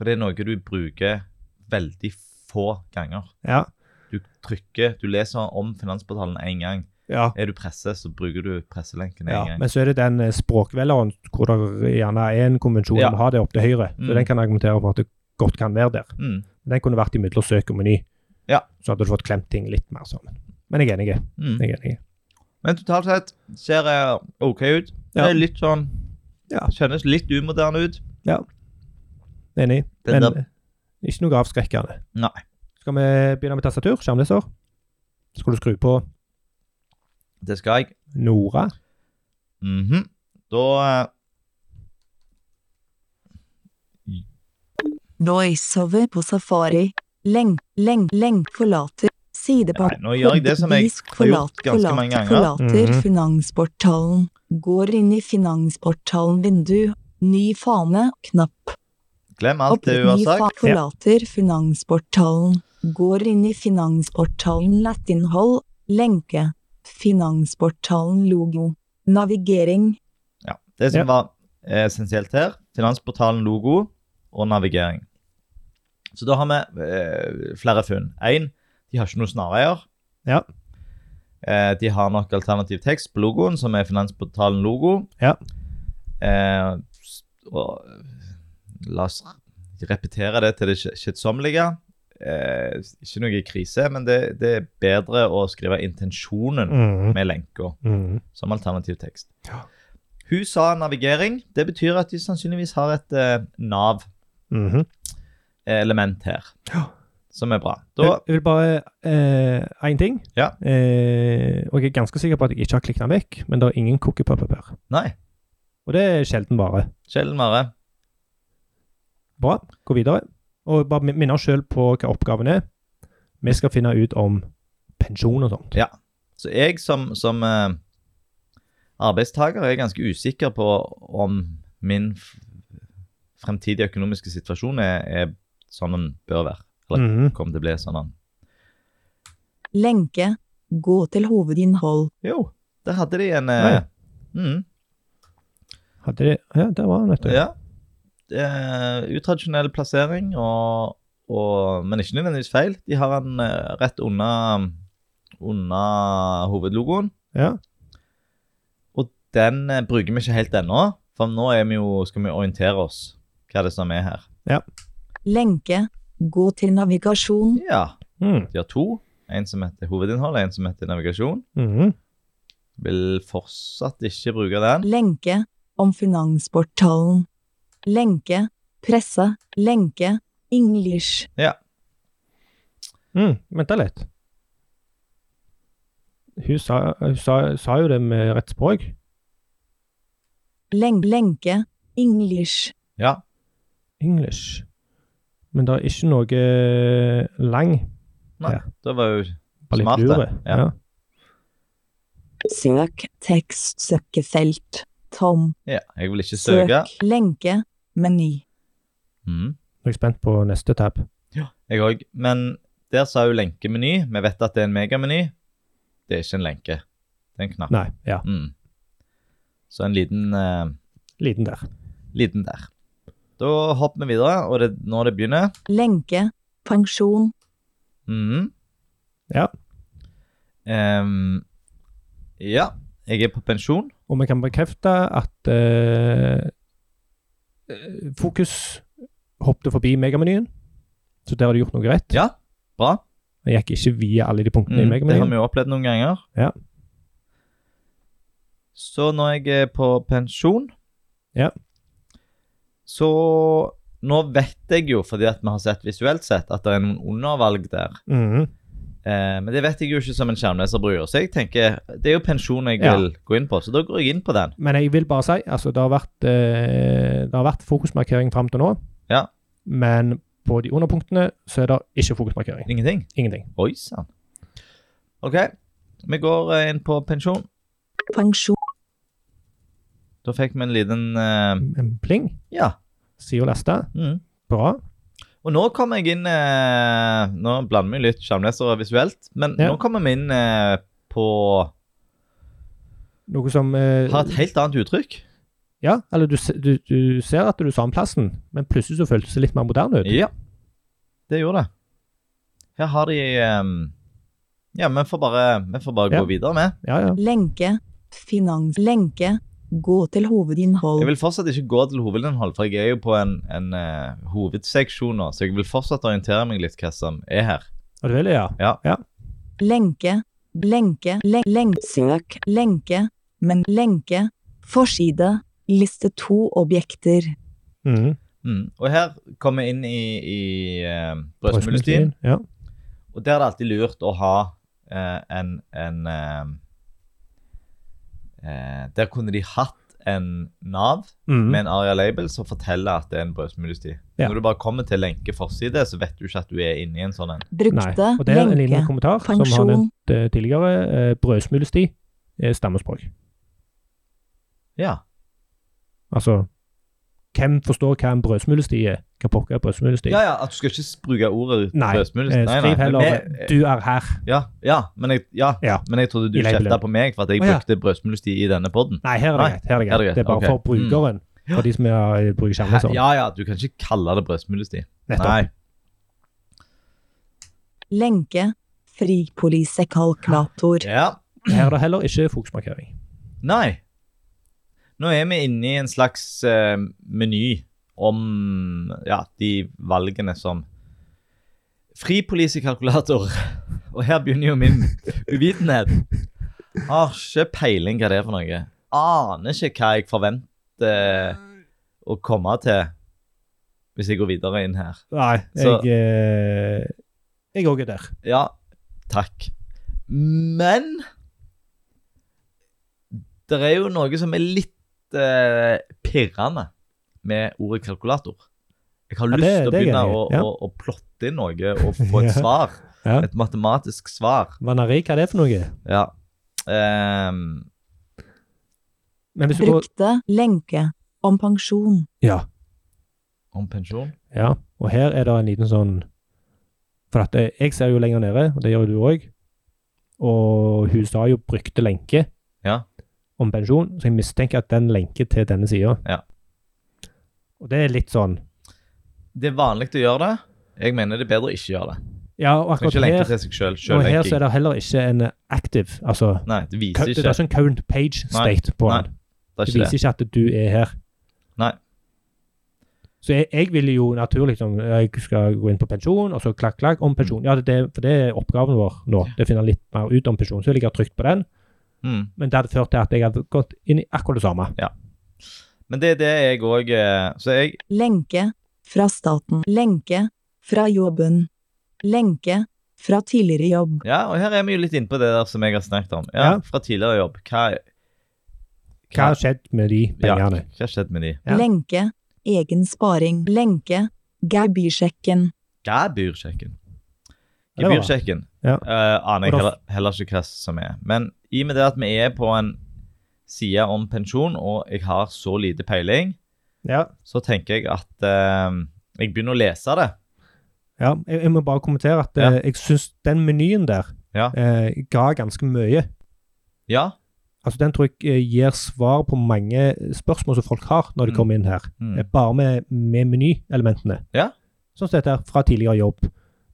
Speaker 2: for det er noe du bruker veldig få ganger.
Speaker 1: Ja.
Speaker 2: Du trykker, du leser om finansportalen én gang.
Speaker 1: ja.
Speaker 2: Er du presse, så bruker du presselenken én
Speaker 1: ja.
Speaker 2: gang.
Speaker 1: Men så er det den eh, språkvelgeren hvor det gjerne er en konvensjon
Speaker 2: Ja.
Speaker 1: om å ha det opp til høyre. Så
Speaker 2: Mm.
Speaker 1: den kan argumentere for at det godt kan være der.
Speaker 2: Mm.
Speaker 1: Den kunne vært imellom søk og meny.
Speaker 2: Ja.
Speaker 1: Så hadde du fått klemt ting litt mer sammen. Men jeg er enig.
Speaker 2: Mm.
Speaker 1: Jeg er enig.
Speaker 2: Men totalt sett ser jeg OK ut.
Speaker 1: Ja.
Speaker 2: Det er litt sånn
Speaker 1: Ja.
Speaker 2: Kjennes litt umoderne ut.
Speaker 1: Enig.
Speaker 2: Den
Speaker 1: Men
Speaker 2: der-
Speaker 1: eh, ikke noe avskrekkende.
Speaker 2: Nei.
Speaker 1: Skal vi begynne med tastatur? Skjermleser? Skal du skru på
Speaker 2: Det skal jeg.
Speaker 1: Nora?
Speaker 2: Mhm. Da eh,
Speaker 3: Voiceover på safari. Leng, leng, leng, forlater. Sidepart.
Speaker 2: Nei, nå gjør jeg det som jeg
Speaker 3: Disk,
Speaker 2: har gjort ganske
Speaker 3: forlater,
Speaker 2: mange ganger.
Speaker 3: Forlater
Speaker 1: Mhm.
Speaker 3: finansportalen. Går inn i finansportalen vindu. Ny fane, knapp.
Speaker 2: glem alt det
Speaker 3: Opprett
Speaker 2: hun har
Speaker 3: ny fa-
Speaker 2: sagt.
Speaker 3: Forlater finansportalen. Går inn i finansportalen lettinnhold. Lenke. Finansportalen logo. Navigering.
Speaker 2: Ja. Det som
Speaker 1: Ja.
Speaker 2: var eh, essensielt her, finansportalen logo og navigering. Så da har vi eh, flere funn. Én, de har ikke noen snarveier.
Speaker 1: Ja.
Speaker 2: Eh, de har nok alternativ tekst på logoen, som er finansportalen logo.
Speaker 1: Ja.
Speaker 2: Eh, s- og, la oss repetere det til det kje- kjedsommelige. Eh, ikke noe krise, men det, det er bedre å skrive intensjonen
Speaker 1: Mm.
Speaker 2: med lenka
Speaker 1: Mm.
Speaker 2: som alternativ tekst.
Speaker 1: Ja.
Speaker 2: Hun sa navigering. Det betyr at de sannsynligvis har et eh,
Speaker 1: Mhm.
Speaker 2: Nav-element her,
Speaker 1: Ja.
Speaker 2: som er bra.
Speaker 1: Jeg
Speaker 2: Da,
Speaker 1: jeg vil bare eh, Én ting.
Speaker 2: Ja.
Speaker 1: Eh, og jeg er ganske sikker på at jeg ikke har klikket den vekk, men det er ingen cookiepop-papir.
Speaker 2: nei,
Speaker 1: Og Og det er sjelden vare.
Speaker 2: Sjelden vare.
Speaker 1: Bra, gå videre. Og bare min- minne oss sjøl på hva oppgaven er. Vi skal finne ut om pensjon og sånn. sånt.
Speaker 2: Ja. Så jeg som, som eh, arbeidstaker er ganske usikker på om min f fremtidige økonomiske situasjon er, er sånn den bør være. Eller
Speaker 1: Mhm.
Speaker 2: kommer til å bli sånn den
Speaker 3: Lenke. Gå til hovedinnhold.
Speaker 2: Jo, der hadde de en eh, mhm,
Speaker 1: Hadde de, ja, der var han, vet du.
Speaker 2: Ja. Eh, utradisjonell plassering, og, og, men ikke nødvendigvis feil. De har den eh, rett unna, unna hovedlogoen.
Speaker 1: Ja.
Speaker 2: Og den eh, bruker vi ikke helt ennå, for nå er vi jo, skal vi orientere oss hva det er som er her.
Speaker 3: Lenke. Gå til navigasjon.
Speaker 2: Ja,
Speaker 1: Mm.
Speaker 2: de har to. En som heter hovedinnhold, en som heter navigasjon.
Speaker 1: Mhm.
Speaker 2: Vil fortsatt ikke bruke den.
Speaker 3: Lenke. Om finansportalen. Lenke. Presse. Lenke. English.
Speaker 1: Mm. Vent da litt. Hun, sa, hun sa, sa jo det med rett språk.
Speaker 3: Len lenke. English.
Speaker 2: Ja,
Speaker 1: English. Men det er ikke noe lang.
Speaker 2: nei,
Speaker 1: Ja.
Speaker 2: det var jo
Speaker 1: Bare litt
Speaker 2: Smart, det.
Speaker 1: lure.
Speaker 2: Ja.
Speaker 1: Ja.
Speaker 3: Søk. Tekstsøkefelt. Tom.
Speaker 2: Ja, jeg vil ikke
Speaker 3: Søk.
Speaker 2: søke.
Speaker 3: Lenke. Meny.
Speaker 2: Mhm.
Speaker 1: Nå er jeg spent på neste tab.
Speaker 2: Jeg òg. Men der sa jo lenkemeny. Vi vet at det er en megameny. Det er ikke en lenke. Det er en knapp.
Speaker 1: Nei, ja.
Speaker 2: Mm. Så en liten, eh,
Speaker 1: Liten der.
Speaker 2: liten der. Da hopper vi videre, og det, når det begynner
Speaker 3: Lenke. Pensjon.
Speaker 2: mhm.
Speaker 1: Ja.
Speaker 2: Ehm, ja, jeg er på pensjon.
Speaker 1: Og vi kan bekrefte at eh, eh, Fokus hoppet forbi megamenyen, så der har du gjort noe rett.
Speaker 2: Ja, bra.
Speaker 1: Jeg gikk ikke via alle de punktene i
Speaker 2: Mm, det har
Speaker 1: megamenyen.
Speaker 2: vi jo opplevd noen ganger.
Speaker 1: Ja.
Speaker 2: Så når jeg er på pensjon
Speaker 1: Ja.
Speaker 2: Så nå vet jeg jo, fordi at vi har sett visuelt sett, at det er noen undervalg der.
Speaker 1: Mhm.
Speaker 2: Eh, men det vet jeg jo ikke som en skjermleserbruker, så jeg tenker det er jo pensjon jeg
Speaker 1: Ja.
Speaker 2: vil gå inn på, så da går jeg inn på den.
Speaker 1: Men jeg vil bare si altså det har vært, eh, det har vært fokusmarkering fram til nå.
Speaker 2: Ja.
Speaker 1: Men på de underpunktene så er det ikke fokusmarkering.
Speaker 2: Ingenting.
Speaker 1: Ingenting.
Speaker 2: Oi sann. OK, vi går eh, inn på pensjon.
Speaker 3: Pensjon.
Speaker 2: Da fikk vi en liten eh,
Speaker 1: Men pling,
Speaker 2: Ja.
Speaker 1: sier og laste.
Speaker 2: Mm.
Speaker 1: Bra.
Speaker 2: Og nå kommer jeg inn eh, Nå blander vi litt skjermlesere visuelt, men
Speaker 1: Ja.
Speaker 2: nå kommer vi inn eh, på
Speaker 1: Noe som eh,
Speaker 2: Har et helt annet uttrykk.
Speaker 1: Ja, eller du, se- du, du ser at du sa om plassen, men plutselig så føltes det litt mer moderne ut.
Speaker 2: Ja, det gjorde det. Her har de eh, Ja, vi får bare, vi får bare
Speaker 1: Ja.
Speaker 2: gå videre med.
Speaker 1: Ja, ja.
Speaker 3: Lenke. Finans. Lenke. Gå til hovedinnhold.
Speaker 2: Jeg vil fortsatt ikke gå til hovedinnhold, for jeg er jo på en, en eh, hovedseksjon nå, så jeg vil fortsatt orientere meg litt hva som er her.
Speaker 1: Og du vil, ja.
Speaker 3: Lenke. Blenke. Lenk. lenk søk. Lenke. Men lenke. Forside. Liste to objekter.
Speaker 1: Mhm.
Speaker 2: Mm. Og her kommer vi inn i, i eh, brødsmulestien,
Speaker 1: Ja.
Speaker 2: og der er det alltid lurt å ha eh, en, en eh, eh, Der kunne de hatt en Nav
Speaker 1: Mm.
Speaker 2: med en Aria Label som forteller at det er en brødsmulesti.
Speaker 1: Ja.
Speaker 2: Når du bare kommer til lenke forside, så vet du ikke at du er inne i en sånn en.
Speaker 1: Nei.
Speaker 3: Brukte.
Speaker 1: Og det er en lignende
Speaker 3: lenke.
Speaker 1: kommentar som har
Speaker 3: Pensjon.
Speaker 1: nevnt eh, tidligere. Eh, brødsmulesti er stammespråk.
Speaker 2: Ja.
Speaker 1: Altså Hvem forstår hva en brødsmulesti er? Hva pokker er brødsmulesti?
Speaker 2: Ja, ja, at du skal ikke bruke ordet
Speaker 1: Nei,
Speaker 2: brødsmulesti.
Speaker 1: Eh, skriv heller
Speaker 2: men vi-
Speaker 1: 'du er her'.
Speaker 2: Ja, ja, men jeg, ja,
Speaker 1: Ja.
Speaker 2: men jeg trodde du
Speaker 1: I labelen.
Speaker 2: kjefta på meg for at jeg
Speaker 1: Å, ja.
Speaker 2: brukte brødsmulesti i denne podden.
Speaker 1: Nei, her er det
Speaker 2: Nei,
Speaker 1: greit. Her er det
Speaker 2: her er
Speaker 1: greit.
Speaker 2: det
Speaker 1: Det er bare
Speaker 2: greit,
Speaker 1: for
Speaker 2: ok. Mm.
Speaker 1: brukeren. For de som er, bruker skjermen sånn.
Speaker 2: Ja, ja, du kan ikke kalle det brødsmulesti.
Speaker 1: Nettopp.
Speaker 2: Nei.
Speaker 3: Lenke. Fripolisekalkulator.
Speaker 2: Ja.
Speaker 1: Her er det heller ikke fokusmarkering.
Speaker 2: Nei. Nå er vi inne i en slags eh, meny om ja, de valgene som Fri polisekalkulator. Og her begynner jo min uvitenhet. Har ikke peiling hva det er for noe. Aner ikke hva jeg forventer eh, å komme til hvis jeg går videre inn her.
Speaker 1: Nei,
Speaker 2: Så-
Speaker 1: jeg eh, Jeg òg er der.
Speaker 2: Ja, takk. Men det er jo noe som er litt litt eh, pirrende med ordet kalkulator. Jeg har
Speaker 1: Ja,
Speaker 2: lyst
Speaker 1: det-
Speaker 2: til å
Speaker 1: det er jeg
Speaker 2: begynne
Speaker 1: enig i,
Speaker 2: å,
Speaker 1: ja.
Speaker 2: å, å plotte inn noe og få et
Speaker 1: Ja.
Speaker 2: svar.
Speaker 1: Ja.
Speaker 2: Et matematisk svar.
Speaker 1: Vanari, hva er det for noe?
Speaker 2: Ja. Ehm,
Speaker 1: Men hvis du går
Speaker 3: Brukte lenke. Om pensjon.
Speaker 1: Ja.
Speaker 2: om pensjon?
Speaker 1: ja. Og her er det en liten sånn For at eh, jeg ser jo lenger nede, og det gjør jo du òg. Og hun sa jo 'brukte lenke'
Speaker 2: Ja.
Speaker 1: om pensjon, så jeg mistenker at den lenker til denne sida.
Speaker 2: Ja.
Speaker 1: Og det er litt sånn
Speaker 2: Det er vanlig å gjøre det. Jeg mener det er bedre å ikke gjøre det.
Speaker 1: Ja, og
Speaker 2: Man kan
Speaker 1: akkurat
Speaker 2: ikke lenke
Speaker 1: her,
Speaker 2: til seg sjøl.
Speaker 1: og her så er
Speaker 2: Sjøllenking.
Speaker 1: det heller ikke en eh, active, altså
Speaker 2: Nei,
Speaker 1: Cu-
Speaker 2: det viser
Speaker 1: Det
Speaker 2: ikke.
Speaker 1: er ikke en current page
Speaker 2: Nei,
Speaker 1: state på
Speaker 2: nei,
Speaker 1: den.
Speaker 2: Det
Speaker 1: Det
Speaker 2: er
Speaker 1: viser
Speaker 2: ikke det.
Speaker 1: ikke at du er her.
Speaker 2: Nei.
Speaker 1: Så jeg, jeg ville jo naturlig liksom, Jeg skal gå inn på pensjon, og så klakk, klakk, om pensjon. Ja, det, det, for det er oppgaven vår nå. Det finner litt mer ut om pensjon. Så ville jeg ha trykt på den.
Speaker 2: Mm.
Speaker 1: Men det hadde ført til at jeg hadde gått inn i akkurat det samme.
Speaker 2: Men det er det jeg òg Så jeg
Speaker 3: Lenke. Fra staten. Lenke. Fra jobben. Lenke. Fra tidligere jobb.
Speaker 2: Ja, og her er vi jo litt inne på det der som jeg har snakket om. Ja,
Speaker 1: Ja.
Speaker 2: Fra tidligere jobb. Hva,
Speaker 1: Hva har skjedd med de pengene?
Speaker 2: hva har skjedd med de?
Speaker 1: Ja.
Speaker 3: Lenke. Egen sparing. Lenke. Gebyrsjekken.
Speaker 2: Gebyrsjekken.
Speaker 1: Ja, det var det.
Speaker 2: Gebyrsjekken
Speaker 1: Ja.
Speaker 2: eh, aner jeg
Speaker 1: Og da-
Speaker 2: heller, heller ikke hva som er. Men i og med det at vi er på en side om pensjon, og jeg har så lite peiling,
Speaker 1: Ja.
Speaker 2: så tenker jeg at eh, jeg begynner å lese det.
Speaker 1: ja. Jeg, jeg må bare kommentere at eh, jeg syns den menyen der
Speaker 2: Ja.
Speaker 1: eh, ga ganske mye.
Speaker 2: Ja.
Speaker 1: Altså, Den tror jeg eh, gir svar på mange spørsmål som folk har når de
Speaker 2: Mm.
Speaker 1: kommer inn her.
Speaker 2: Mm.
Speaker 1: Eh, Bare med, med menyelementene.
Speaker 2: Ja.
Speaker 1: Sånn som dette her, fra tidligere jobb.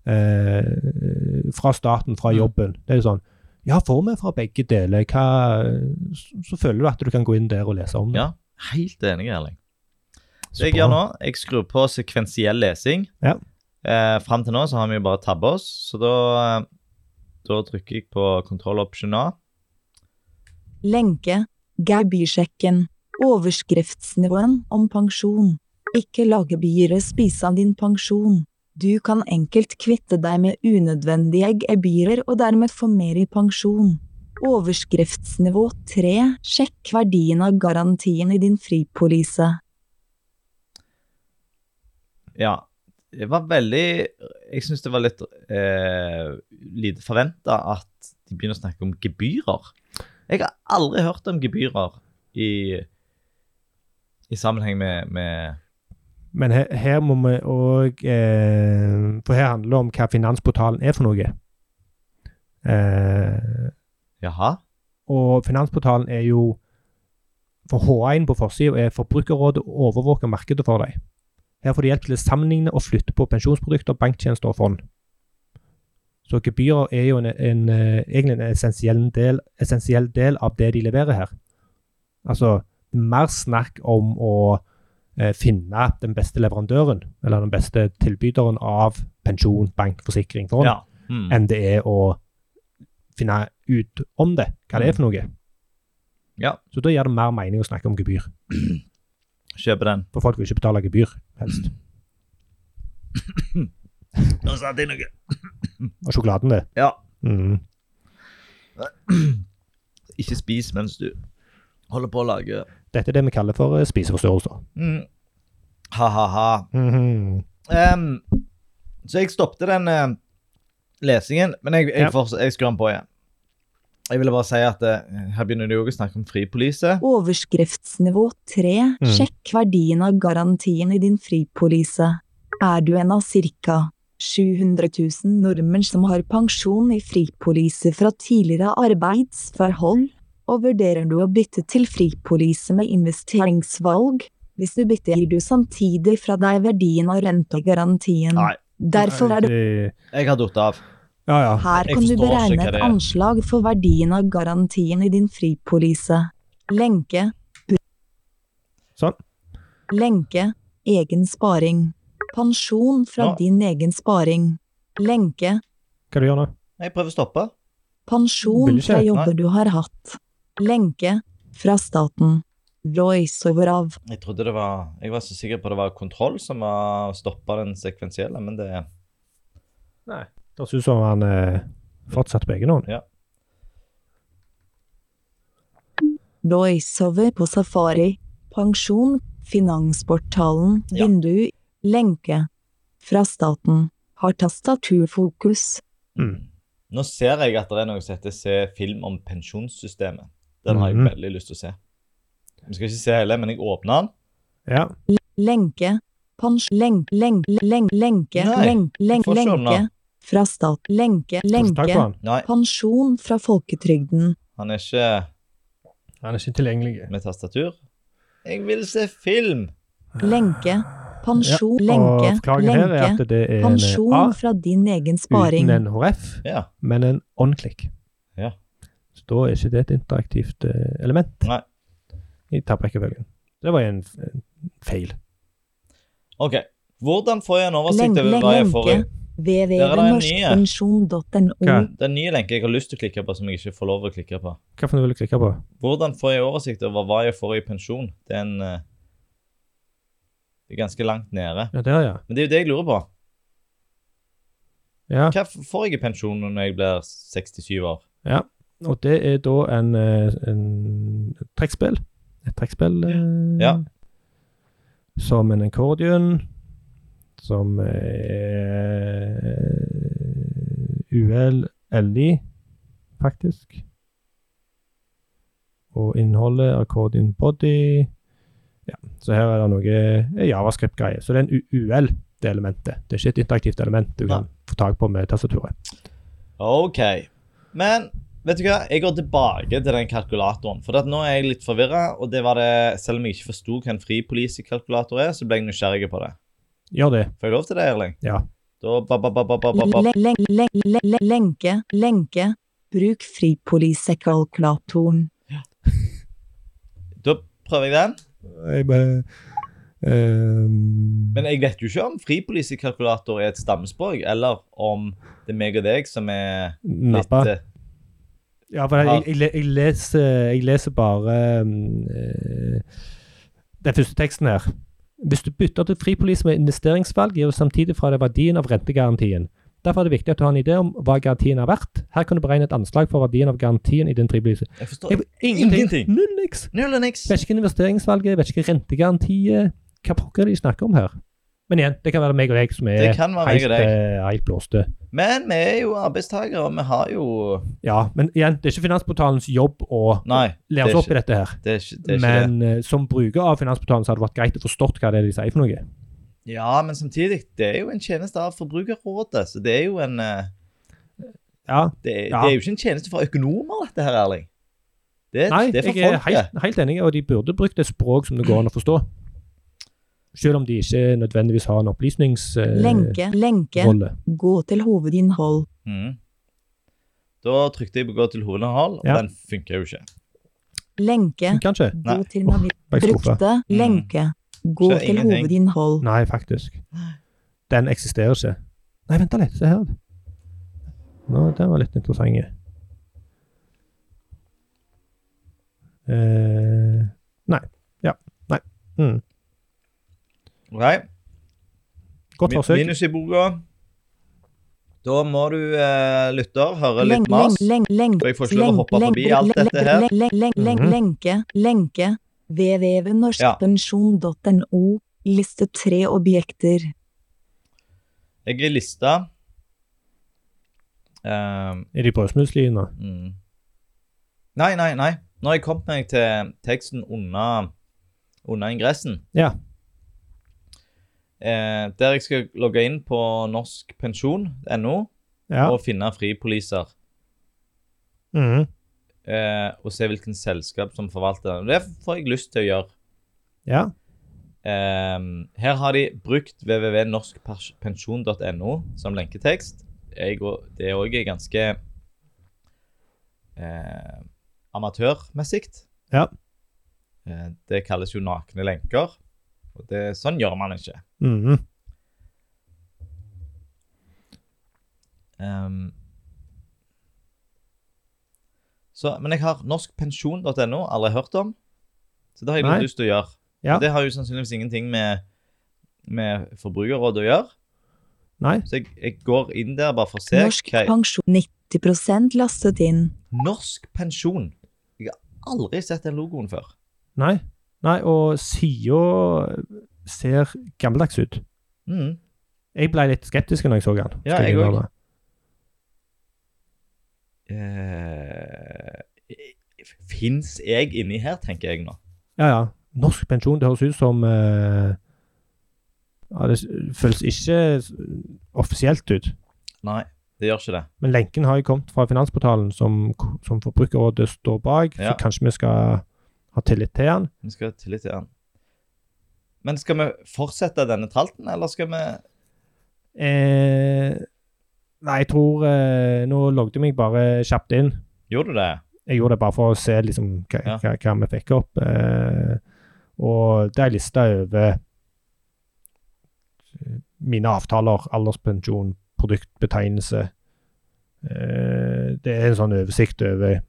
Speaker 1: Eh, fra staten, fra
Speaker 2: Mm.
Speaker 1: jobben. Det er jo sånn Ja, får vi fra begge deler? Hva Så, så føler du at du kan gå inn der og lese om det.
Speaker 2: Ja. Helt enig, Erling.
Speaker 1: Så
Speaker 2: Det jeg
Speaker 1: bra.
Speaker 2: gjør nå, jeg skrur på sekvensiell lesing.
Speaker 1: Ja.
Speaker 2: Eh, Fram til nå så har vi jo bare tabba oss, så da, eh, da trykker jeg på control option A.
Speaker 3: Lenke. Gebyrsjekken. Overskriftsnivåen om pensjon. Ikke la gebyret spise av din pensjon. Du kan enkelt kvitte deg med unødvendige gebyrer og dermed få mer i pensjon. Overskriftsnivå 3. Sjekk verdien av garantien i din fripolise.
Speaker 2: Ja. Det var veldig Jeg syns det var litt eh, lite forventa at de begynner å snakke om gebyrer. Jeg har aldri hørt om gebyrer i, i sammenheng med, med
Speaker 1: Men her, her må vi òg eh, For her handler det om hva Finansportalen er for noe. Eh,
Speaker 2: Jaha?
Speaker 1: Og Finansportalen er jo For H1 på forsida er Forbrukerrådet overvåker markedet for deg. Her får du hjelp til å sammenligne og flytte på pensjonsprodukter, banktjenester og fond. Så gebyrer er jo en, en, eh, egentlig en essensiell del, essensiell del av det de leverer her. Altså mer snakk om å eh, finne den beste leverandøren, eller den beste tilbyderen av pensjon, bank, forsikring, fond
Speaker 2: Ja. Mm.
Speaker 1: enn det er å finne ut om det, hva det er for noe.
Speaker 2: Mm. Ja.
Speaker 1: Så da gir det mer mening å snakke om gebyr,
Speaker 2: Kjøper den.
Speaker 1: for folk vil ikke betale gebyr, helst.
Speaker 2: Nå satte jeg noe.
Speaker 1: Og sjokoladen, det.
Speaker 2: Ja.
Speaker 1: Mm.
Speaker 2: Ikke spis mens du holder på å lage
Speaker 1: Dette er det vi kaller for eh, spiseforstyrrelser.
Speaker 2: mm. Ha-ha-ha.
Speaker 1: Mhm.
Speaker 2: Ehm, så jeg stoppte den eh, lesingen, men jeg, jeg,
Speaker 1: Ja.
Speaker 2: forts- jeg skrur den på igjen. Jeg ville bare si at eh, her begynner de òg å snakke om fripolise.
Speaker 3: Overskriftsnivå 3.
Speaker 1: Mm.
Speaker 3: Sjekk verdien av garantien i din fripolise. Er du en av ca. 700 000 nordmenn som har pensjon i fripolise fra tidligere arbeidsforhold, og vurderer du å bytte til fripolise med investeringsvalg? Hvis du bytter, gir du samtidig fra deg verdien av rentegarantien.
Speaker 2: Nei.
Speaker 3: Derfor er det
Speaker 1: Eh,
Speaker 2: Jeg har datt av.
Speaker 1: Ja, ja.
Speaker 3: her
Speaker 2: Jeg
Speaker 3: kan du
Speaker 2: forstår ikke
Speaker 3: beregne
Speaker 2: hva det
Speaker 3: et
Speaker 2: er.
Speaker 3: anslag for verdien av garantien i din fripolise. Lenke
Speaker 1: Sånn.
Speaker 3: Lenke. Egen sparing. Pensjon fra
Speaker 2: Nå-
Speaker 3: din egen sparing. Lenke.
Speaker 1: Hva du gjør nå?
Speaker 2: Jeg prøver å stoppe.
Speaker 1: Vil
Speaker 3: Pensjon
Speaker 1: ikke,
Speaker 3: fra
Speaker 1: nei.
Speaker 3: jobber du har hatt. Lenke. Fra staten. Voiceover av.
Speaker 2: Jeg trodde det var Jeg var så sikker på det var kontroll som var stoppa den sekvensielle, men det
Speaker 1: Det ser ut som han eh, fortsatte på egen hånd.
Speaker 3: Voiceover på safari. pensjon, Finansportalen,
Speaker 2: Ja.
Speaker 3: vindu, lenke. Fra staten. Har tastaturfokus.
Speaker 1: Mm.
Speaker 2: Nå ser jeg at det er noe som heter Se film om pensjonssystemet. Den har jeg
Speaker 1: Mhm.
Speaker 2: veldig lyst til å se. Vi skal ikke se hele, men jeg åpner den.
Speaker 1: Ja.
Speaker 3: Lenke. Pens... Lenk... Lenk... Lenk... Lenke.
Speaker 2: Nei,
Speaker 3: Lenk... Lenk...
Speaker 2: får se om
Speaker 3: Lenke.
Speaker 2: den.
Speaker 3: Fra stat... Lenke.
Speaker 1: Tusen takk for
Speaker 3: Lenke.
Speaker 1: han.
Speaker 2: Nei,
Speaker 3: Pensjon fra folketrygden.
Speaker 2: han er ikke
Speaker 1: Han er ikke tilgjengelig.
Speaker 2: med tastatur. Jeg vil se film!
Speaker 3: Lenke. Pensjon.
Speaker 1: Ja,
Speaker 3: Lenke.
Speaker 1: Og forklaringen her er
Speaker 3: Lenke.
Speaker 1: at det er en A
Speaker 3: Pensjon fra din egen sparing.
Speaker 1: uten en HF,
Speaker 2: Ja.
Speaker 1: men en on-click.
Speaker 2: Ja.
Speaker 1: Så da er ikke det et interaktivt eh, element
Speaker 2: Nei.
Speaker 1: i tabrekkefølgen. Det var en, en feil.
Speaker 2: OK. Hvordan får jeg en oversikt
Speaker 3: Lenke.
Speaker 2: over hva jeg får i
Speaker 3: Lenke. www.norskpensjon.no.
Speaker 1: Hva?
Speaker 2: Den nye lenken jeg har lyst til å klikke på, som jeg ikke får lov å klikke på.
Speaker 1: Hva for noe vil du klikke på?
Speaker 2: Hvordan får jeg oversikt over hva jeg får i pensjon? Det er en eh, Det er ganske langt nede.
Speaker 1: Ja, der, ja.
Speaker 2: Men det er jo det jeg lurer på.
Speaker 1: ja.
Speaker 2: Hva f- får jeg i pensjon når jeg blir 67 år?
Speaker 1: Og det er da en, eh, en et trekkspill. Et trekkspill eh,
Speaker 2: Ja.
Speaker 1: som en accordion, som er eh, UL LI, faktisk. Og innholdet accordion body. Ja, så her er det noe javascript-greie. Så det er en U- UL, det elementet. Det er ikke et interaktivt element du kan få tak på med tastaturet.
Speaker 2: OK. Men vet du hva? Jeg går tilbake til den kalkulatoren. For at nå er jeg litt forvirra. Og det var det, selv om jeg ikke forsto hva en fripolisekalkulator er, så ble jeg nysgjerrig på det.
Speaker 1: Gjør det.
Speaker 2: Får jeg lov til det, Erling?
Speaker 1: Ja.
Speaker 2: Da ba, ba, ba, ba, ba, ba, ba.
Speaker 3: Lenke, lenke, lenke, lenke. Bruk fripolisekalkulatoren.
Speaker 2: Da prøver jeg den.
Speaker 1: Jeg bare ehm,
Speaker 2: Men jeg vet jo ikke om fripolisekalkulator er et stammespråk, eller om det er meg og deg som er litt
Speaker 1: Nappa.
Speaker 2: eh,
Speaker 1: Ja, for jeg, jeg, le- jeg, leser, jeg leser bare mm, eh, den første teksten her. Hvis du bytter til fripolis med investeringsvalg, gir du samtidig fra deg verdien av rentegarantien. Derfor er det viktig at du har en idé om hva garantien er verdt. Her kan du beregne et anslag for verdien av garantien i din fripolise.
Speaker 2: Jeg forstår
Speaker 1: Jeg- Ingenting!
Speaker 2: Ingenting.
Speaker 1: Null niks!
Speaker 2: Null og niks.
Speaker 1: Vet ikke investeringsvalget, vet ikke rentegarantiet. Hva pokker er det de snakker om her? Men igjen, det kan være meg og deg som er
Speaker 2: Det kan være meg
Speaker 1: helt,
Speaker 2: og deg.
Speaker 1: eh, helt blåste.
Speaker 2: Men vi er jo arbeidstakere, og vi har jo
Speaker 1: Ja, men igjen, det er ikke Finansportalens jobb å
Speaker 2: Nei,
Speaker 1: lære
Speaker 2: det er
Speaker 1: oss opp i dette her.
Speaker 2: det er ikke det. Er ikke det.
Speaker 1: Men eh, som bruker av Finansportalen så hadde det vært greit å forstått hva det er de sier for noe.
Speaker 2: Ja, men samtidig, det er jo en tjeneste av Forbrukerrådet, så det er jo en eh,
Speaker 1: Ja,
Speaker 2: Det, er-
Speaker 1: Ja.
Speaker 2: det er jo ikke en tjeneste for økonomer, dette her, Erling. Det,
Speaker 1: Nei,
Speaker 2: det
Speaker 1: jeg
Speaker 2: er for
Speaker 1: er
Speaker 2: folket.
Speaker 1: helt, helt enig, og de burde brukt et språk som det går an å forstå. Selv om de ikke nødvendigvis har en eh, opplysningsrolle.
Speaker 3: Lenke, lenke. Gå til hovedinnhold.
Speaker 2: Mhm. Da trykte jeg på 'gå til hovedhold', og
Speaker 1: Ja.
Speaker 2: den funker jo ikke.
Speaker 3: Lenke.
Speaker 1: Kanskje?
Speaker 3: Gå
Speaker 2: Nei.
Speaker 3: til navi...
Speaker 1: Bare skuffa.
Speaker 3: Brukte lenke. Gå
Speaker 2: Så
Speaker 3: til
Speaker 2: ingenting.
Speaker 3: hovedinnhold.
Speaker 1: Nei, faktisk. Den eksisterer ikke. Nei, vent da litt. Se her. Nå, den var litt interessant. Eh, nei. Ja. Nei. Mm.
Speaker 2: Ok?
Speaker 1: Godt
Speaker 2: Min-
Speaker 1: forsøk.
Speaker 2: Minus i boka. Da må du eh, lytter høre litt
Speaker 3: Lenk,
Speaker 2: mas.
Speaker 3: lenk, lenk, lenk.
Speaker 2: Og jeg får ikke lov å hoppe
Speaker 3: lenk,
Speaker 2: forbi
Speaker 3: lenk,
Speaker 2: alt
Speaker 3: lenk,
Speaker 2: dette her.
Speaker 3: lenk, lenk, lenk, lenk,
Speaker 1: Mhm.
Speaker 3: Lenke, lenke. www.norskpensjon.no. Liste tre objekter.
Speaker 2: Jeg er i lista. Ehm,
Speaker 1: Er de brødsmusli nå?
Speaker 2: mm. Nei, nei, nei. Nå har jeg kommet meg til teksten unna, unna ingressen.
Speaker 1: Ja.
Speaker 2: Eh, der jeg skal logge inn på norskpensjon.no
Speaker 1: Ja.
Speaker 2: og finne fripoliser.
Speaker 1: Mhm.
Speaker 2: Eh, og se hvilken selskap som forvalter den. Det får jeg lyst til å gjøre.
Speaker 1: ja.
Speaker 2: Ehm, her har de brukt www.norskpensjon.no som lenketekst. Jeg, og- det er òg ganske eh, amatørmessig.
Speaker 1: Ja.
Speaker 2: Eh, det kalles jo nakne lenker. Og det, sånn gjør man ikke.
Speaker 1: Mhm.
Speaker 2: Ehm, så, men jeg har norskpensjon.no, aldri hørt om. Så det har jeg
Speaker 1: Nei.
Speaker 2: litt lyst til å gjøre.
Speaker 1: Ja.
Speaker 2: Og det har jo sannsynligvis ingenting med, med Forbrukerrådet å gjøre.
Speaker 1: Nei.
Speaker 2: Så jeg, jeg går inn der bare for å se.
Speaker 3: Norsk
Speaker 2: hva-
Speaker 3: pensjon 90 lastet inn.
Speaker 2: Norsk pensjon. Jeg har aldri sett den logoen før.
Speaker 1: Nei. Nei, og sida ser gammeldags ut.
Speaker 2: Mm.
Speaker 1: Jeg ble litt skeptisk når jeg så den. skal
Speaker 2: Ja, jeg
Speaker 1: innrømme.
Speaker 2: Eh, Fins jeg inni her, tenker jeg nå.
Speaker 1: Ja, ja. Norsk pensjon, det høres ut som eh, ja, Det s- føles ikke s- offisielt ut.
Speaker 2: Nei, det gjør ikke det.
Speaker 1: Men lenken har jo kommet fra Finansportalen, som, k- som Forbrukerrådet står bak,
Speaker 2: Ja.
Speaker 1: så kanskje vi skal ha tillit til den.
Speaker 2: Vi skal ha tillit til han. Men skal vi fortsette denne tralten, eller skal vi
Speaker 1: Eh, nei, jeg tror eh, Nå logget jeg meg bare kjapt inn.
Speaker 2: Gjorde du det?
Speaker 1: Jeg gjorde det bare for å se liksom, hva,
Speaker 2: Ja.
Speaker 1: hva, hva vi fikk opp. Eh, og det er lista over eh, mine avtaler, alderspensjon, produktbetegnelse. Eh, det er en sånn oversikt over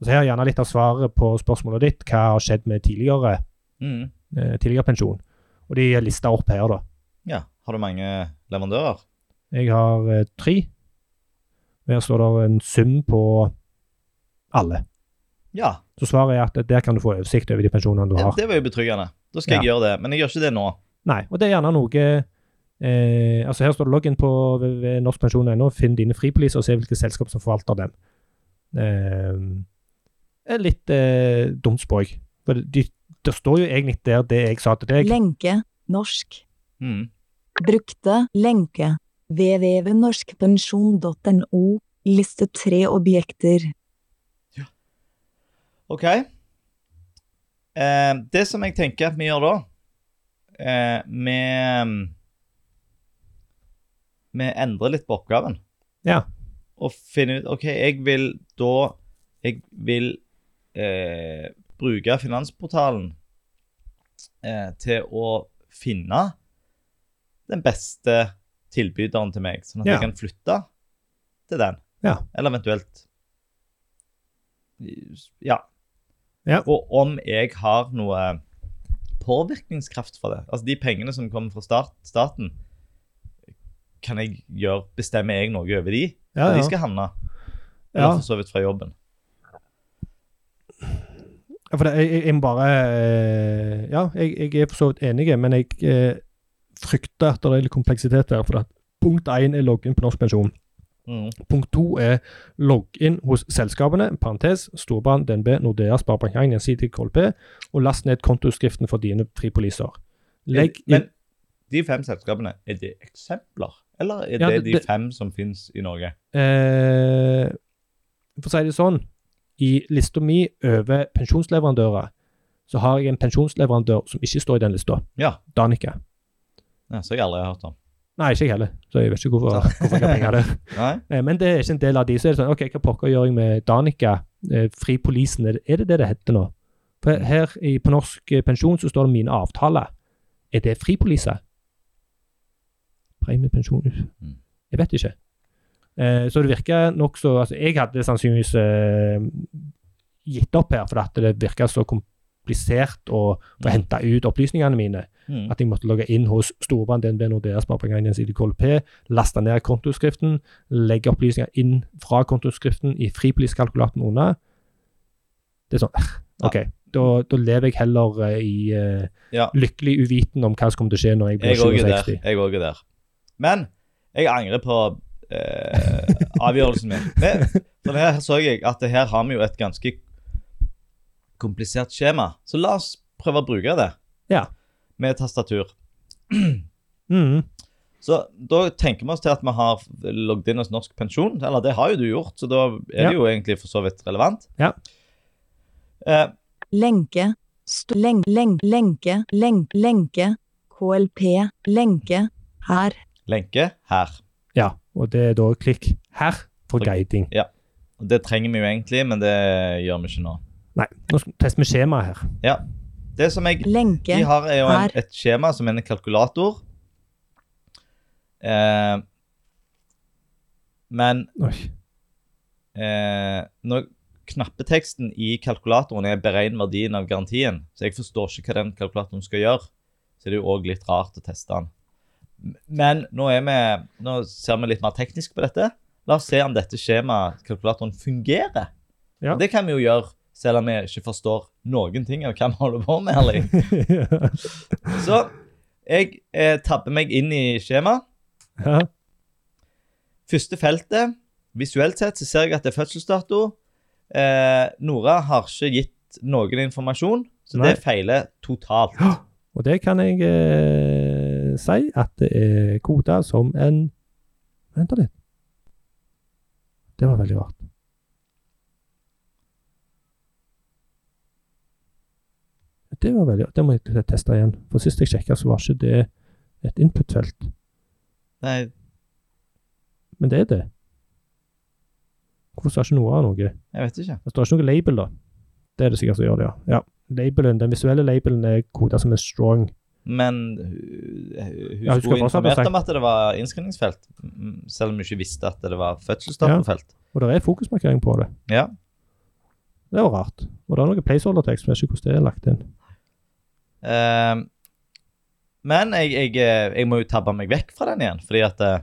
Speaker 1: Og så Her er gjerne litt av svaret på spørsmålet ditt. Hva har skjedd med tidligere,
Speaker 2: Mm.
Speaker 1: eh, tidligere pensjon? Og de er lista opp her, da.
Speaker 2: Ja. Har du mange leverandører?
Speaker 1: Jeg har eh, tre. Her står det en sum på alle.
Speaker 2: Ja.
Speaker 1: Så svaret er at der kan du få oversikt over de pensjonene du
Speaker 2: ja,
Speaker 1: har.
Speaker 2: Det var jo betryggende. Da skal jeg gjøre det. Men jeg gjør ikke det nå.
Speaker 1: Nei, og det er gjerne noe eh, Altså Her står det logg inn på www.norskpensjon.no, finn dine fripoliser og se hvilke selskap som forvalter dem. Eh, er litt eh, dumt språk. For det, det står jo egentlig der det jeg sa til deg.
Speaker 3: Lenke. Norsk.
Speaker 2: Mm.
Speaker 3: Brukte lenke. www.norskpensjon.no. Liste tre objekter.
Speaker 2: OK. Eh, det som jeg tenker at vi gjør da eh, mm, Vi Vi endrer litt på oppgaven.
Speaker 1: Ja.
Speaker 2: og finne ut OK, jeg vil da Jeg vil eh, bruke Finansportalen eh, til å finne den beste tilbyderen til meg, sånn at
Speaker 1: Ja.
Speaker 2: jeg kan flytte til den.
Speaker 1: Ja.
Speaker 2: Eller eventuelt ja.
Speaker 1: Ja.
Speaker 2: Og om jeg har noe påvirkningskraft fra det. Altså de pengene som kommer fra stat, staten, kan jeg gjøre, bestemmer jeg noe over de?
Speaker 1: Ja,
Speaker 2: hvor
Speaker 1: ja.
Speaker 2: de skal havne.
Speaker 1: ja.
Speaker 2: Eller for så vidt fra jobben.
Speaker 1: Ja, for det, jeg, jeg- jeg må bare eh, Ja, jeg, jeg er for så vidt enig, men jeg eh, frykter at det er litt kompleksitet her. For at punkt én er logg inn på Norsk Pensjon.
Speaker 2: Mm.
Speaker 1: Punkt to er logg inn hos selskapene, parentes, Storbrann, DNB, Nordea, Sparebank1, Gjensidige, KLP, og last ned kontoutskriften for dine fripoliser. Legg
Speaker 2: Eh, Men
Speaker 1: inn
Speaker 2: de fem selskapene, er det eksempler? Eller er
Speaker 1: Ja,
Speaker 2: det,
Speaker 1: det-
Speaker 2: de
Speaker 1: det-
Speaker 2: fem som finnes i Norge?
Speaker 1: eh, For å si det sånn, i lista mi over pensjonsleverandører, så har jeg en pensjonsleverandør som ikke står i den lista.
Speaker 2: Ja.
Speaker 1: Danica.
Speaker 2: Ja, så har jeg aldri har hørt om.
Speaker 1: Nei, ikke jeg heller, så jeg vet ikke hvorfor, hvorfor jeg har penger der.
Speaker 2: Nei?
Speaker 1: Eh, Men det er ikke en del av de. Så er det sånn, ok, hva pokker gjør jeg med Danica? Eh, Fri Polisen, er det- er det det det heter nå? For her i, på Norsk eh, Pensjon så står det mine avtaler. Er det Fri Polise? Premiepensjon ut.
Speaker 2: Mm.
Speaker 1: Jeg vet ikke. Eh, Så det virker nokså altså Jeg hadde sannsynligvis eh, gitt opp her, for at det virka så komplisert å få
Speaker 2: Mm.
Speaker 1: hente ut opplysningene mine
Speaker 2: Mm.
Speaker 1: at jeg måtte logge inn hos Storbrann, DNB, Nordea, Sparebank1, Gjensidige, KLP, laste ned kontoskriften, legge opplysninger inn fra kontoskriften i fripoliskalkulatoren under. Det er sånn eh, OK, da, da lever jeg heller eh, i eh,
Speaker 2: Ja.
Speaker 1: lykkelig uviten om hva som kommer til å skje når jeg
Speaker 2: Jeg òg
Speaker 1: blir
Speaker 2: er der.
Speaker 1: 67.
Speaker 2: Jeg òg er der. Men jeg angrer på eh, avgjørelsen min. Men, for her så jeg at det her har vi jo et ganske komplisert skjema. Så la oss prøve å bruke det
Speaker 1: Ja.
Speaker 2: med tastatur.
Speaker 1: Mm,
Speaker 2: Så da tenker vi oss til at vi har logget inn hos Norsk Pensjon. Eller det har jo du gjort, så da er
Speaker 1: Ja.
Speaker 2: det jo egentlig for så vidt relevant.
Speaker 1: Ja.
Speaker 2: Eh,
Speaker 3: Lenke. St lenk, lenk, lenke. Lenk, lenke. KLP. Lenke. Her.
Speaker 2: lenke her.
Speaker 1: ja, og det er da klikk her for
Speaker 2: For-
Speaker 1: guiding.
Speaker 2: Og Det trenger vi jo egentlig, men det gjør vi ikke nå.
Speaker 1: Nei, nå skal- tester vi skjemaet her.
Speaker 2: Det som jeg
Speaker 3: Lenke.
Speaker 2: De har er jo en,
Speaker 3: Her.
Speaker 2: et skjema som er en kalkulator. Eh, men
Speaker 1: Oi.
Speaker 2: eh, når knappeteksten i kalkulatoren er 'beregn verdien av garantien', så jeg forstår ikke hva den kalkulatoren skal gjøre, så er det jo òg litt rart å teste den. Men nå, er vi, nå ser vi litt mer teknisk på dette. La oss se om dette skjemaet, kalkulatoren, fungerer.
Speaker 1: Ja.
Speaker 2: Det kan vi jo gjøre Selv om jeg ikke forstår noen ting av hva vi holder på med. Erling. Så jeg eh, tabber meg inn i skjemaet.
Speaker 1: ja.
Speaker 2: Første feltet, visuelt sett, så ser jeg at det er fødselsdato. Eh, Nora har ikke gitt noen informasjon, så
Speaker 1: Nei.
Speaker 2: det feiler totalt.
Speaker 1: Og det kan jeg eh, si at det er koda som en Vent litt. Det var veldig rart. Det var veldig rart. Det må jeg teste igjen. For sist jeg sjekka, så var ikke det et input-felt.
Speaker 2: Nei,
Speaker 1: Men det er det. Hvorfor står ikke noe av noe?
Speaker 2: jeg vet ikke.
Speaker 1: Det står ikke noe label, da. Det er det sikkert som gjør det, ja. ja. Labelen, den visuelle labelen er koda som en strong.
Speaker 2: Men hu- hu- hun
Speaker 1: Ja, hun skal fortsatt
Speaker 2: sto
Speaker 1: ha
Speaker 2: informert
Speaker 1: sagt-
Speaker 2: om at det var innskrivningsfelt, mm, selv om hun ikke visste at det var fødselsdatofelt.
Speaker 1: Og det er fokusmarkering på det.
Speaker 2: Ja.
Speaker 1: Det var rart. Og det er noe placeholder-tekst, men jeg vet ikke hvordan det er lagt inn.
Speaker 2: Eh, men jeg, jeg, eh, jeg må jo tabbe meg vekk fra den igjen, fordi at eh,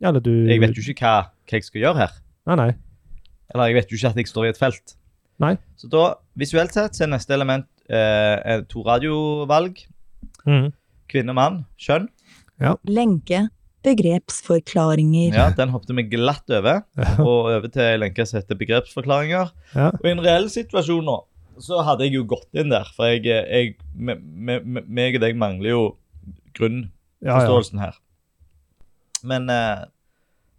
Speaker 1: Ja, eller du
Speaker 2: jeg vet jo ikke hva, hva jeg skal gjøre her.
Speaker 1: Nei, nei.
Speaker 2: Eller jeg vet jo ikke at jeg står i et felt.
Speaker 1: Nei.
Speaker 2: Så da, visuelt sett, så er neste element eh, er to radiovalg. Kvinne, mann, kjønn.
Speaker 3: Lenke. Begrepsforklaringer.
Speaker 2: Ja, Den hoppet vi glatt over, og over til en lenke som heter begrepsforklaringer.
Speaker 1: Ja.
Speaker 2: Og i en reell situasjon nå, så hadde jeg jo gått inn der, for jeg, eh, jeg, me- me- me- meg og deg mangler jo grunnforståelsen
Speaker 1: Ja, ja.
Speaker 2: her. Men eh,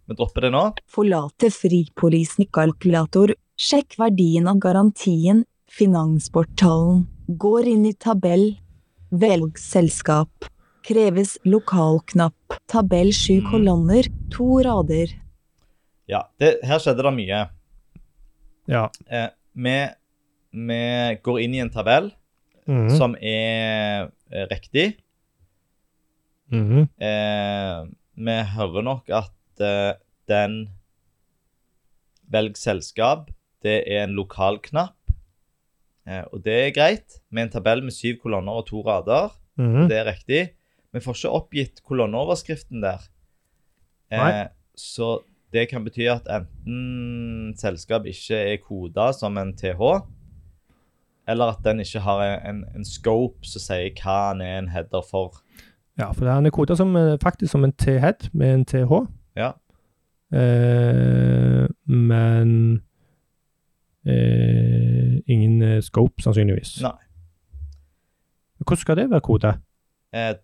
Speaker 2: vi dropper det nå.
Speaker 3: Forlate fripolisen i kalkulator. Sjekk verdien av garantien. Finansportalen. Går inn i tabell. Velg selskap. Kreves lokalknapp. Tabell sju
Speaker 2: Mm.
Speaker 3: kolonner. To rader.
Speaker 2: Ja, det, Her skjedde det mye.
Speaker 1: ja.
Speaker 2: Eh, vi, vi går inn i en tabell.
Speaker 1: Mhm.
Speaker 2: som er eh, riktig.
Speaker 1: Mhm.
Speaker 2: Eh, vi hører nok at eh, den Velg selskap. Det er en lokalknapp. Eh, og det er greit, med en tabell med syv kolonner og to rader.
Speaker 1: Mhm.
Speaker 2: Det er riktig. Vi får ikke oppgitt kolonneoverskriften der. Eh,
Speaker 1: Nei.
Speaker 2: så det kan bety at enten selskap ikke er koda som en TH, eller at den ikke har en, en scope som sier hva den er en header for.
Speaker 1: ja, for han er koda som, eh, faktisk som en T-head med en TH.
Speaker 2: Ja.
Speaker 1: Eh, men eh, ingen eh, scope, sannsynligvis.
Speaker 2: Nei.
Speaker 1: Hvordan skal det være koda?
Speaker 2: Eh,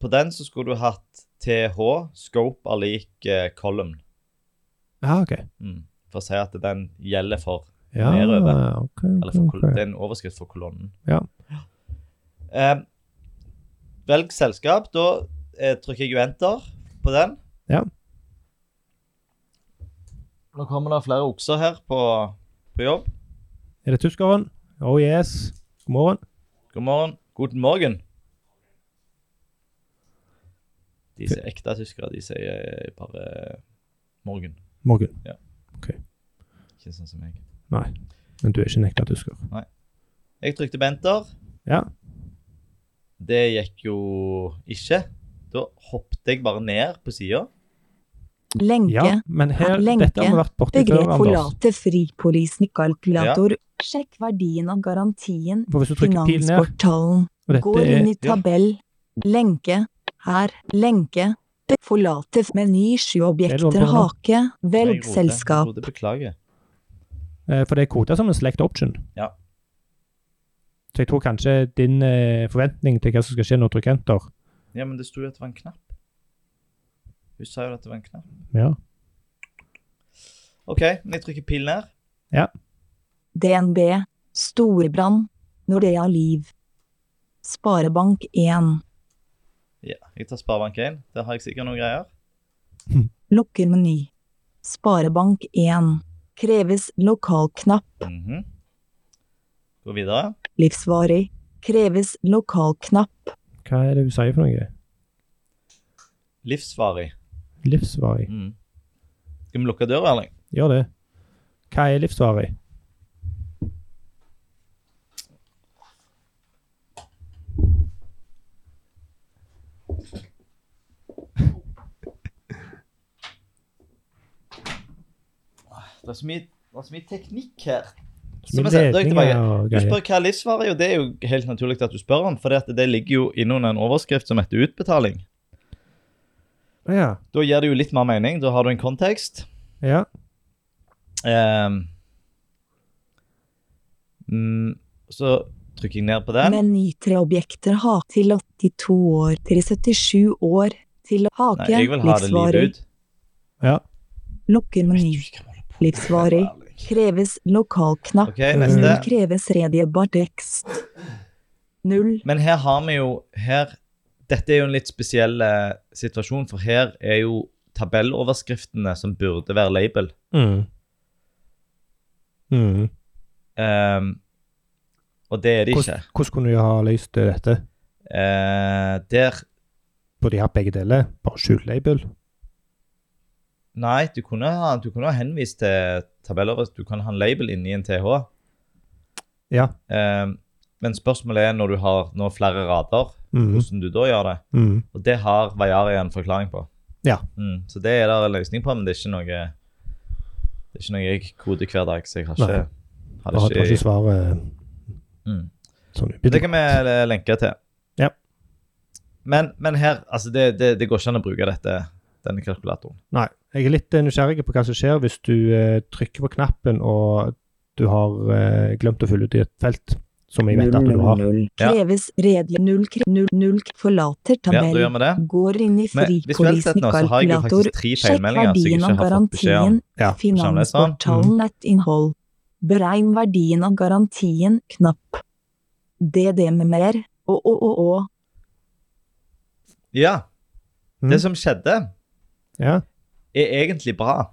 Speaker 2: på den så skulle du hatt TH, scope er lik eh, column,
Speaker 1: Ja, Ah, OK.
Speaker 2: mm. for å si at den gjelder for
Speaker 1: Ja,
Speaker 2: Nedover.
Speaker 1: ok,
Speaker 2: Eller
Speaker 1: ok,
Speaker 2: for,
Speaker 1: Mm, ok.
Speaker 2: kol- det er en overskrift for kolonnen.
Speaker 1: Ja.
Speaker 2: Eh, velg selskap. Da eh, trykker jeg jo enter på den.
Speaker 1: Ja.
Speaker 2: Nå kommer det flere okser her på, på jobb.
Speaker 1: Er det tyskeren? Oh yes. God morgen.
Speaker 2: God morgen. Guten morgen. De som er ekte tyskere, de sier bare morgen.
Speaker 1: Morgen.
Speaker 2: Ikke sånn som meg.
Speaker 1: Nei, men du er ikke en ekte tysker.
Speaker 2: Jeg trykte på enter.
Speaker 1: Ja.
Speaker 2: Det gikk jo ikke. Da hoppet jeg bare ned på sida.
Speaker 3: Lenke.
Speaker 1: ja, men her,
Speaker 3: Lenke.
Speaker 1: dette har vi vært borti før,
Speaker 3: Begrep
Speaker 1: Anders.
Speaker 3: forlate fripolisen i kalkulator. Sjekk verdien av garantien.
Speaker 1: For hvis du trykker pil ned,
Speaker 3: Finansportalen.
Speaker 1: og
Speaker 3: Går
Speaker 1: dette er
Speaker 3: inn i tabell. Lenke. Her. Lenke. Be- Forlate f- meny sju
Speaker 1: Er det noe
Speaker 3: objekter.
Speaker 1: på
Speaker 3: Hake.
Speaker 2: Jeg
Speaker 3: Velg
Speaker 2: roter.
Speaker 3: selskap.
Speaker 2: Jeg roter, Beklager.
Speaker 1: eh, For det er koda som en select option.
Speaker 2: Ja.
Speaker 1: Så jeg tror kanskje din eh, forventning til hva som skal skje når du trykker enter
Speaker 2: Ja, men det sto jo at det var en knapp. Hun sa jo at det var en knapp.
Speaker 1: ja.
Speaker 2: OK, men jeg trykker pil ned.
Speaker 3: DNB. Storebrann. Nordea Liv. Sparebank1.
Speaker 2: Ja, Jeg tar Sparebank1. Der har jeg sikkert noen greier.
Speaker 3: Lukker meny. Sparebank1. Kreves lokalknapp.
Speaker 2: Mhm. Gå videre.
Speaker 3: Livsvarig. Kreves lokalknapp.
Speaker 1: Hva er det hun sier for noe?
Speaker 2: Livsvarig.
Speaker 1: Livsvarig.
Speaker 2: Mhm. Skal vi lukke døra, Erling?
Speaker 1: Gjør det. Hva er livsvarig?
Speaker 2: Det er så mye, det er så mye teknikk her. Som
Speaker 1: Med
Speaker 2: jeg sa, da er jeg tilbake.
Speaker 1: ledninger og
Speaker 2: Du
Speaker 1: greier.
Speaker 2: spør hva livsvar er, og det er jo helt naturlig at du spør om, for det, det ligger jo innunder en overskrift som heter utbetaling.
Speaker 1: Ja.
Speaker 2: Da gir det jo litt mer mening. Da har du en kontekst.
Speaker 1: ja.
Speaker 2: Ehm. mm, så trykker jeg ned på den.
Speaker 3: Menytreobjekter ha til 82 år til 77 år til
Speaker 2: Nei,
Speaker 3: hake,
Speaker 2: jeg vil ha det
Speaker 3: livsvarig,
Speaker 2: livet ut.
Speaker 1: ja.
Speaker 3: lukker meny, livsvarig, kreves lokalknapp,
Speaker 2: Ok, neste.
Speaker 3: kreves redjebar tekst. Null,
Speaker 2: Men her har vi jo her, Dette er jo en litt spesiell eh, situasjon, for her er jo tabelloverskriftene som burde være label.
Speaker 1: Mm. Mm.
Speaker 2: Ehm, og det er det ikke.
Speaker 1: Hvordan, hvordan kunne de ha løst dette?
Speaker 2: Eh, der
Speaker 1: Burde de hatt begge deler? Bare skjult label?
Speaker 2: Nei, du kunne ha, du kunne ha henvist til tabeller. Du kan ha en label inni en TH.
Speaker 1: Ja.
Speaker 2: Ehm, men spørsmålet er når du har nå flere rader,
Speaker 1: Mm.
Speaker 2: hvordan du da gjør det.
Speaker 1: Mm.
Speaker 2: Og det har Vajaria en forklaring på.
Speaker 1: Ja.
Speaker 2: Mm, så det er det en løsning på, men det er ikke noe det er ikke noe jeg koder hver dag, så jeg har ikke,
Speaker 1: Nei.
Speaker 2: har
Speaker 1: Da har
Speaker 2: det
Speaker 1: ikke
Speaker 2: ikke
Speaker 1: svaret eh,
Speaker 2: mm.
Speaker 1: sånn
Speaker 2: Det
Speaker 1: umiddelbart.
Speaker 2: kan vi eh, lenke til.
Speaker 1: Ja.
Speaker 2: Men, men her altså det, det, det går ikke an å bruke dette, denne kalkulatoren.
Speaker 1: Nei. Jeg er litt eh, nysgjerrig på hva som skjer hvis du eh, trykker på knappen og du har eh, glemt å fylle ut i et felt som jeg vet at du har.
Speaker 2: Ja.
Speaker 3: kreves redje, null, kre- null, null, forlater
Speaker 2: Ja, da gjør
Speaker 3: tabell,
Speaker 2: vi det.
Speaker 3: går inn i
Speaker 2: Men visuelt sett
Speaker 3: fripolisen
Speaker 2: nå så har jeg jo
Speaker 3: kalkulator,
Speaker 2: faktisk tre
Speaker 3: Sjekk
Speaker 2: feilmeldinger som jeg
Speaker 3: verdien
Speaker 2: ikke
Speaker 3: av
Speaker 2: har fått beskjed om.
Speaker 3: garantien,
Speaker 1: Ja,
Speaker 2: sånn. Mm.
Speaker 3: finansportalen nettinnhold. Beregn verdien av garantien, knapp. DD med mer, å å å å.
Speaker 2: Ja.
Speaker 1: Mm.
Speaker 2: Det som skjedde,
Speaker 1: Ja,
Speaker 2: er egentlig bra.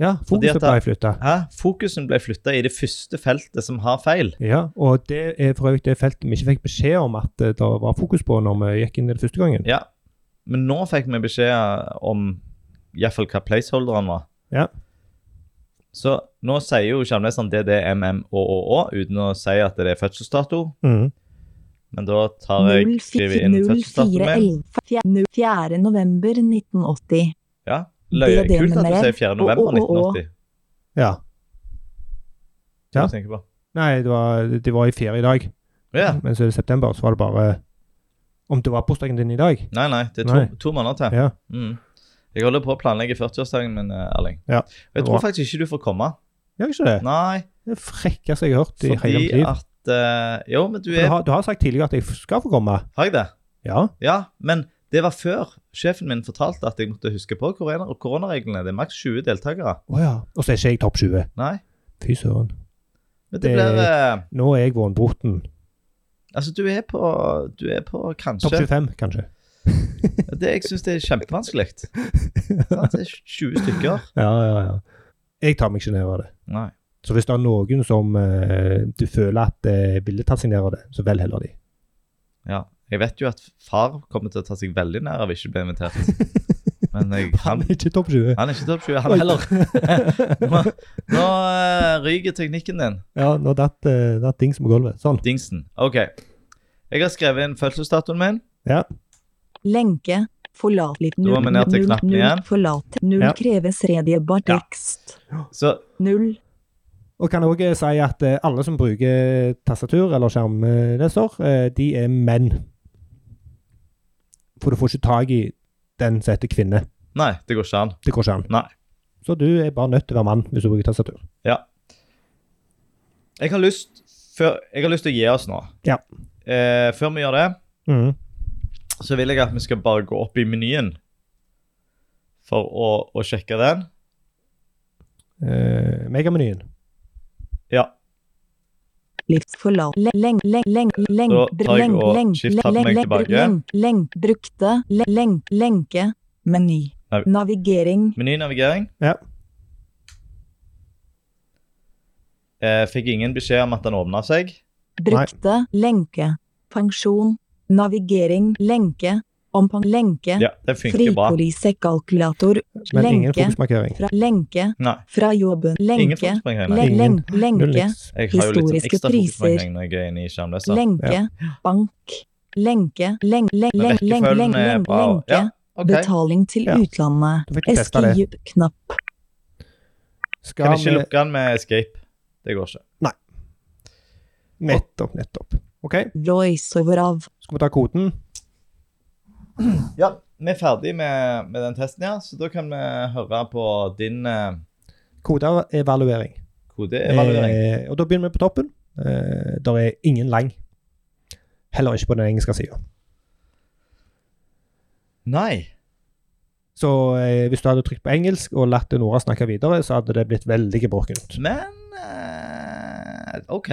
Speaker 1: ja
Speaker 2: Fordi at
Speaker 1: fokuset ble flytta.
Speaker 2: Hæ? Fokusen ble flytta i det første feltet som har feil.
Speaker 1: Ja, og det er for øvrig det feltet vi ikke fikk beskjed om at eh, det var fokus på når vi gikk inn i det første gangen.
Speaker 2: Ja. Men nå fikk vi beskjed om iallfall hva placeholderen var.
Speaker 1: Ja.
Speaker 2: Så nå sier jo Kjemnesand DDMMÅÅÅ uten å si at det er fødselsdato.
Speaker 1: Mm.
Speaker 2: Men da tar jeg skriver inn fødselsdatoen min.
Speaker 3: 0411 november 1980.
Speaker 2: Ja. Løy.
Speaker 3: DDMM.
Speaker 2: Kult at du sier 4. november
Speaker 3: Å, å, å.
Speaker 2: 1980.
Speaker 1: Ja.
Speaker 2: Ja.
Speaker 1: Ja.
Speaker 2: På.
Speaker 1: Nei, det var, det var i ferie i dag,
Speaker 2: ja.
Speaker 1: men så er det september, så var det bare Om det var bursdagen din i dag?
Speaker 2: Nei, nei. Det er to,
Speaker 1: Nei.
Speaker 2: to måneder til.
Speaker 1: Ja.
Speaker 2: Mm. Jeg holder på å planlegge 40-årsdagen min, eh, Erling.
Speaker 1: Ja.
Speaker 2: Og jeg tror
Speaker 1: Bra.
Speaker 2: faktisk ikke du får komme.
Speaker 1: Gjør ikke det?
Speaker 2: Nei,
Speaker 1: Det er det frekkeste jeg har hørt i hele mitt
Speaker 2: fordi
Speaker 1: liv.
Speaker 2: at eh, Jo, men du
Speaker 1: For Du
Speaker 2: er
Speaker 1: har, du har sagt tidligere at jeg skal få komme.
Speaker 2: Har jeg det?
Speaker 1: Ja.
Speaker 2: Ja, men det var før sjefen min fortalte at jeg måtte huske på korona koronareglene. Det er maks 20 deltakere.
Speaker 1: Å ja. Og så er ikke jeg topp 20.
Speaker 2: Nei.
Speaker 1: Fy søren.
Speaker 2: Men det
Speaker 1: Det-
Speaker 2: blir eh,
Speaker 1: Nå er jeg vårnbroten.
Speaker 2: Altså, du er på Du er på
Speaker 1: Topp
Speaker 2: kanskje
Speaker 1: 25, kanskje.
Speaker 2: det, Jeg syns det er kjempevanskelig. Sant? Det er 20 stykker.
Speaker 1: Ja, ja, ja. Jeg tar meg ikke ned av det.
Speaker 2: Nei.
Speaker 1: Så hvis det er noen som eh, du føler at eh, ville tatt seg ned av det, så vel heller de.
Speaker 2: Ja. Jeg vet jo at far kommer til å ta seg veldig nær av ikke å bli invitert. Men jeg,
Speaker 1: Han
Speaker 2: han,
Speaker 1: er ikke topp 20.
Speaker 2: han er ikke topp 20, han heller. Nå, nå eh, ryker teknikken din.
Speaker 1: Ja, nå datt eh, datt dings på gulvet. Sånn.
Speaker 2: Dingsen. OK. Jeg har skrevet inn fødselsdatoen min.
Speaker 1: Ja.
Speaker 3: Lenke. Forlat litt
Speaker 2: Da var vi ned til knappen igjen.
Speaker 3: forlat null
Speaker 1: Ja.
Speaker 3: kreves redjebar
Speaker 2: Ja.
Speaker 3: tekst.
Speaker 2: Så
Speaker 3: Null
Speaker 1: Og kan òg si at eh, alle som bruker tastatur eller skjermleser, eh, de er menn. For du får ikke tak i den som heter kvinne.
Speaker 2: Nei, det går ikke an.
Speaker 1: Det går ikke an.
Speaker 2: Nei.
Speaker 1: Så du er bare nødt til å være mann hvis du bruker tastatur.
Speaker 2: Jeg har lyst, før, jeg har lyst til å gi oss nå.
Speaker 1: Ja.
Speaker 2: Eh, før vi gjør det,
Speaker 1: Mm.
Speaker 2: så vil jeg at vi skal bare gå opp i menyen for å, å sjekke den.
Speaker 1: Eh, megamenyen.
Speaker 2: Ja.
Speaker 3: Livs forlat leng, leng, leng, leng, leng,
Speaker 2: Da
Speaker 3: br-
Speaker 2: tar jeg
Speaker 3: leng,
Speaker 2: og
Speaker 3: leng,
Speaker 2: skifter
Speaker 3: leng,
Speaker 2: meg
Speaker 3: leng,
Speaker 2: tilbake.
Speaker 3: Leng, leng, brukte, leng, leng, lenke, meny.
Speaker 2: Nei.
Speaker 3: Navigering,
Speaker 2: Menynavigering.
Speaker 1: Ja.
Speaker 2: Eh, fikk ingen beskjed om at den åpna seg.
Speaker 3: brukte, lenke, pensjon, navigering, lenke, ompan, lenke,
Speaker 2: Ja, det funker bra.
Speaker 3: fripolisekalkulator,
Speaker 1: Men ingen
Speaker 3: lenke,
Speaker 1: fokusmarkering.
Speaker 3: fra, lenke,
Speaker 2: Nei.
Speaker 3: fra jobben,
Speaker 2: Ingen
Speaker 3: lenke,
Speaker 2: fokusmarkeringer.
Speaker 3: leng, leng,
Speaker 1: Ingen. Null
Speaker 3: lenke,
Speaker 1: niks.
Speaker 2: Jeg har jo litt sånn
Speaker 3: Historiske
Speaker 2: ekstra
Speaker 3: priser.
Speaker 2: fokusmarkering når jeg er inne i skjermløse.
Speaker 3: lenke, bank, lenke, leng, leng,
Speaker 2: Men
Speaker 3: leng, leng, leng,
Speaker 2: rekkefølgen er
Speaker 3: leng,
Speaker 2: bra.
Speaker 3: lenke,
Speaker 2: Ja, ok.
Speaker 3: betaling til
Speaker 1: Ja.
Speaker 3: utlandet,
Speaker 1: Da fikk du testa det.
Speaker 3: SKIP-knapp.
Speaker 1: Skal
Speaker 2: Kan ikke
Speaker 1: vi
Speaker 2: lukke den med escape. Det går ikke.
Speaker 1: Nettopp, nettopp. OK,
Speaker 3: Royce over av.
Speaker 1: skal vi ta koden?
Speaker 2: Ja, vi er ferdig med, med den testen, ja. Så da kan vi høre på din eh,
Speaker 1: Kodeevaluering.
Speaker 2: kodeevaluering.
Speaker 1: Eh, og da begynner vi på toppen. Eh, der er ingen lang. Heller ikke på den engelske sida.
Speaker 2: Nei.
Speaker 1: Så eh, hvis du hadde trykt på engelsk og latt Nora snakke videre, så hadde det blitt veldig gebrokkent.
Speaker 2: Men eh, OK.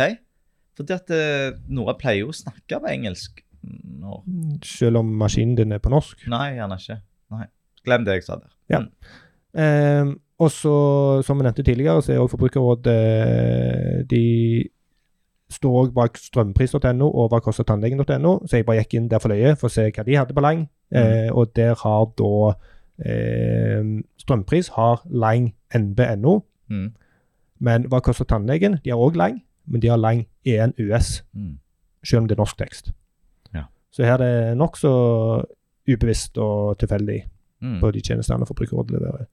Speaker 2: Fordi at eh, Nora pleier jo å snakke på engelsk. Når
Speaker 1: Selv om maskinen din er på norsk.
Speaker 2: Nei, gjerne ikke. Nei. Glem det jeg sa der.
Speaker 1: Ja.
Speaker 2: Mm.
Speaker 1: Eh, og så, som vi nevnte tidligere, så er også Forbrukerrådet eh, De står også bak strømpris.no og hva koster tannlegen.no, så jeg bare gikk inn der for løye for å se hva de hadde på Lang. Eh, og der har da eh, Strømpris har Lang NBNO,
Speaker 2: Mm.
Speaker 1: men hva koster tannlegen? De har òg Lang, men de har Lang E EN US,
Speaker 2: Mm.
Speaker 1: selv om det er norsk tekst.
Speaker 2: Ja.
Speaker 1: Så her er det nokså ubevisst og tilfeldig
Speaker 2: Mm.
Speaker 1: på de tjenestene Forbrukerrådet leverer.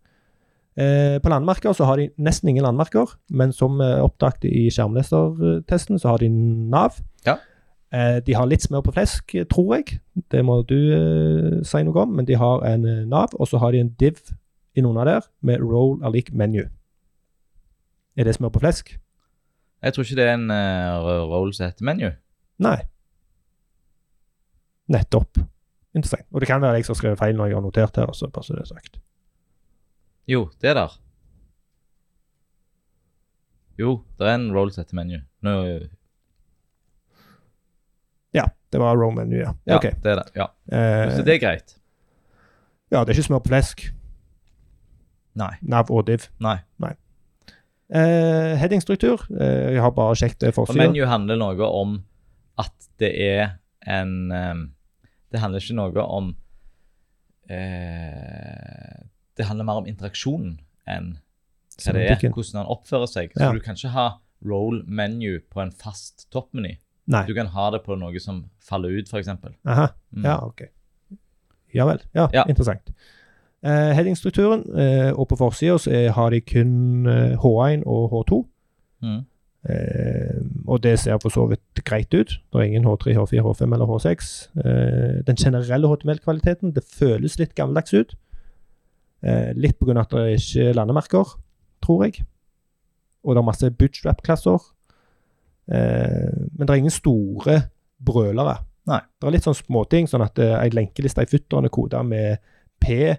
Speaker 1: Eh, på landmerker så har de nesten ingen landmerker, men som eh, oppdaget i skjermlesertesten, så har de Nav.
Speaker 2: Ja.
Speaker 1: Eh, de har litt smør på flesk, eh, tror jeg. Det må du eh, si noe om, men de har en eh, Nav, og så har de en div i noen av der med roll er lik menu. Er det smør på flesk?
Speaker 2: Jeg tror ikke det er en uh, roll som heter menu.
Speaker 1: Nei. Nettopp. Interessant. Og det kan være jeg som har skrevet feil når jeg har notert her, så bare så det er sagt.
Speaker 2: Jo, det er der. Jo, det er en roll som heter menu. Nå,
Speaker 1: Ja, det var roll menu, ja.
Speaker 2: ja,
Speaker 1: Ok.
Speaker 2: det er det. Ja.
Speaker 1: Eh,
Speaker 2: Så det er greit.
Speaker 1: Ja, det er ikke smør på flesk.
Speaker 2: Nei.
Speaker 1: Nav og div.
Speaker 2: Nei.
Speaker 1: Eh, Headingstruktur. Eh, jeg har bare sjekket det
Speaker 2: Og
Speaker 1: forsida.
Speaker 2: menu handler noe om at det er en ehm, Det handler ikke noe om eh, Det handler mer om interaksjonen enn hva det er,
Speaker 1: Semantikken.
Speaker 2: hvordan han oppfører seg. Så
Speaker 1: Ja.
Speaker 2: du kan ikke ha roll menu på en fast toppmeny.
Speaker 1: Nei.
Speaker 2: Du kan ha det på noe som faller ut, f.eks. Mm.
Speaker 1: Aha. Ja, OK. Ja vel. Ja,
Speaker 2: Ja.
Speaker 1: interessant. Eh, Headingstrukturen, eh, og på forsida så er- har de kun eh, H1 og H2.
Speaker 2: Mm.
Speaker 1: Eh, og det ser for så vidt greit ut. Det er ingen H3, H4, H5 eller H6. Eh, den generelle HTML-kvaliteten, det føles litt gammeldags ut. Eh, litt pga. at det er ikke er landemerker, tror jeg. Og det er masse bootstrap-klasser. Eh, men det er ingen store brølere.
Speaker 2: Nei.
Speaker 1: Det er litt sånn småting, sånn at eh, ei lenkeliste i futteren er koda med P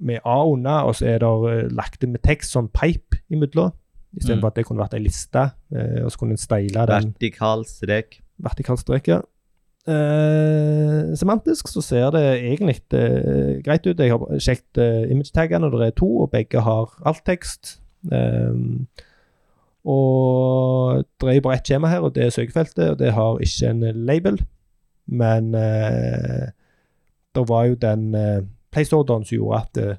Speaker 1: med A unna, og så er det eh, lagt det med tekst, sånn pipe imidler. Istedenfor
Speaker 2: Mm.
Speaker 1: at det kunne vært ei liste, eh, og så kunne en steile den
Speaker 2: Vertikal strek.
Speaker 1: vertikalstreken. Eh, semantisk så ser det egentlig eh, greit ut. Jeg har sjekket eh, image-taggene, og det er to, og begge har alttekst. Um, og det er jo bare ett skjema her, og det er søkefeltet, og det har ikke en label. Men eh, det var jo den eh, placeorderen som gjorde at eh,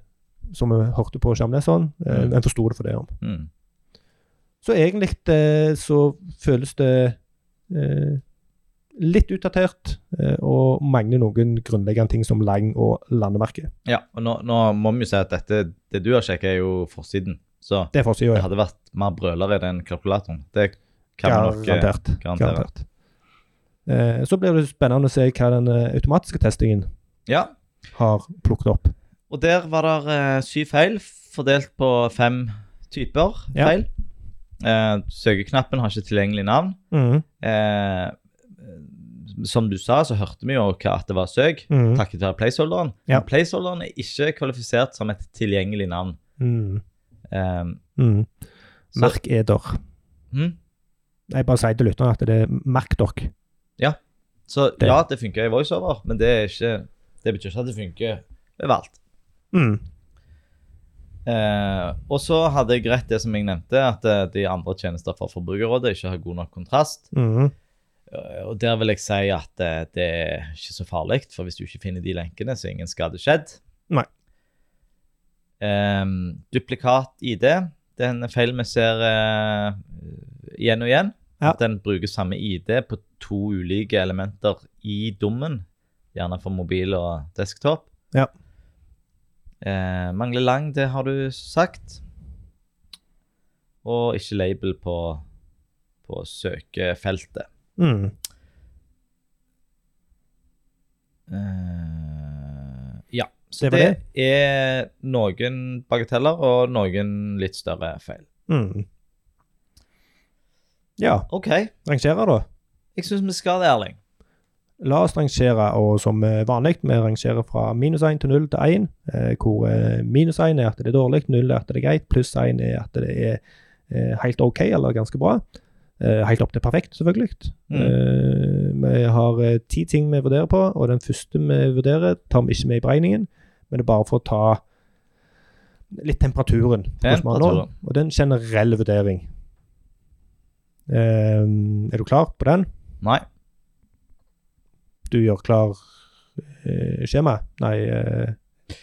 Speaker 1: Som vi hørte på skjermleseren, eh,
Speaker 2: Mm.
Speaker 1: en forsto det for det. om.
Speaker 2: Mm.
Speaker 1: Så egentlig eh, så føles det eh, litt utdatert, eh, og mangler noen grunnleggende ting som lang og landemerke.
Speaker 2: Ja, og nå, nå må vi jo si at dette, det du har sjekket, er jo forsiden. Så
Speaker 1: Det er forsida,
Speaker 2: det
Speaker 1: ja.
Speaker 2: hadde vært mer brølere i den kalkulatoren. Det kan vi nok eh,
Speaker 1: Garantert.
Speaker 2: garantere.
Speaker 1: Garantert. Eh, så blir det spennende å se hva den eh, automatiske testingen
Speaker 2: Ja,
Speaker 1: har plukket opp.
Speaker 2: og der var det eh, syv feil, fordelt på fem typer
Speaker 1: Ja.
Speaker 2: feil. Eh, søkeknappen har ikke tilgjengelig navn.
Speaker 1: Mhm,
Speaker 2: Eh, som du sa, så hørte vi jo hva at det var søk,
Speaker 1: mhm,
Speaker 2: takket være placeholderen.
Speaker 1: Ja.
Speaker 2: Men Placeholderen er ikke kvalifisert som et tilgjengelig navn.
Speaker 1: mhm,
Speaker 2: Eh,
Speaker 1: mhm.
Speaker 2: så-
Speaker 1: Merk E eder.
Speaker 2: Hm?
Speaker 1: Jeg bare sier til lytterne at det er merk dere.
Speaker 2: Så
Speaker 1: Det-
Speaker 2: ja, det funker i voiceover, men det, er ikke, det betyr ikke at det funker overalt.
Speaker 1: Mhm,
Speaker 2: Eh, og så hadde jeg rett det som jeg nevnte, at eh, de andre tjenester fra Forbrukerrådet ikke har god nok kontrast.
Speaker 1: mhm,
Speaker 2: Eh, og der vil jeg si at eh, det er ikke så farlig, for hvis du ikke finner de lenkene, så er ingen skade skjedd.
Speaker 1: Nei.
Speaker 2: Eh, duplikat ID, det er en feil vi ser eh, igjen og igjen.
Speaker 1: Ja.
Speaker 2: At den bruker samme ID på to ulike elementer i dommen, gjerne for mobil og desktop.
Speaker 1: Ja.
Speaker 2: Eh, mangler lang, det har du sagt. Og ikke label på, på søkefeltet.
Speaker 1: Mm.
Speaker 2: Eh, ja. Så
Speaker 1: Det var
Speaker 2: det, er noen bagateller og noen litt større feil.
Speaker 1: Mm. Ja,
Speaker 2: OK,
Speaker 1: rangere, da.
Speaker 2: jeg syns vi skal det, Erling.
Speaker 1: La oss rangere, og som eh, vanlig, vi rangerer fra minus 1 til 0 til 1, eh, hvor eh, minus 1 er at det er dårlig, 0 er at det er greit, pluss 1 er at det er eh, helt ok, eller ganske bra. Eh, Helt opp til perfekt, selvfølgelig.
Speaker 2: Mm.
Speaker 1: Eh, Vi har eh, ti ting vi vurderer på, og den første vi vurderer, tar vi ikke med i beregningen, men det er bare for å ta litt temperaturen. på hvordan vi har det nå,
Speaker 2: Temperaturen.
Speaker 1: Og det er en generell vurdering. Eh, Er du klar på den?
Speaker 2: Nei.
Speaker 1: du gjør klar eh, skjema, nei, eh,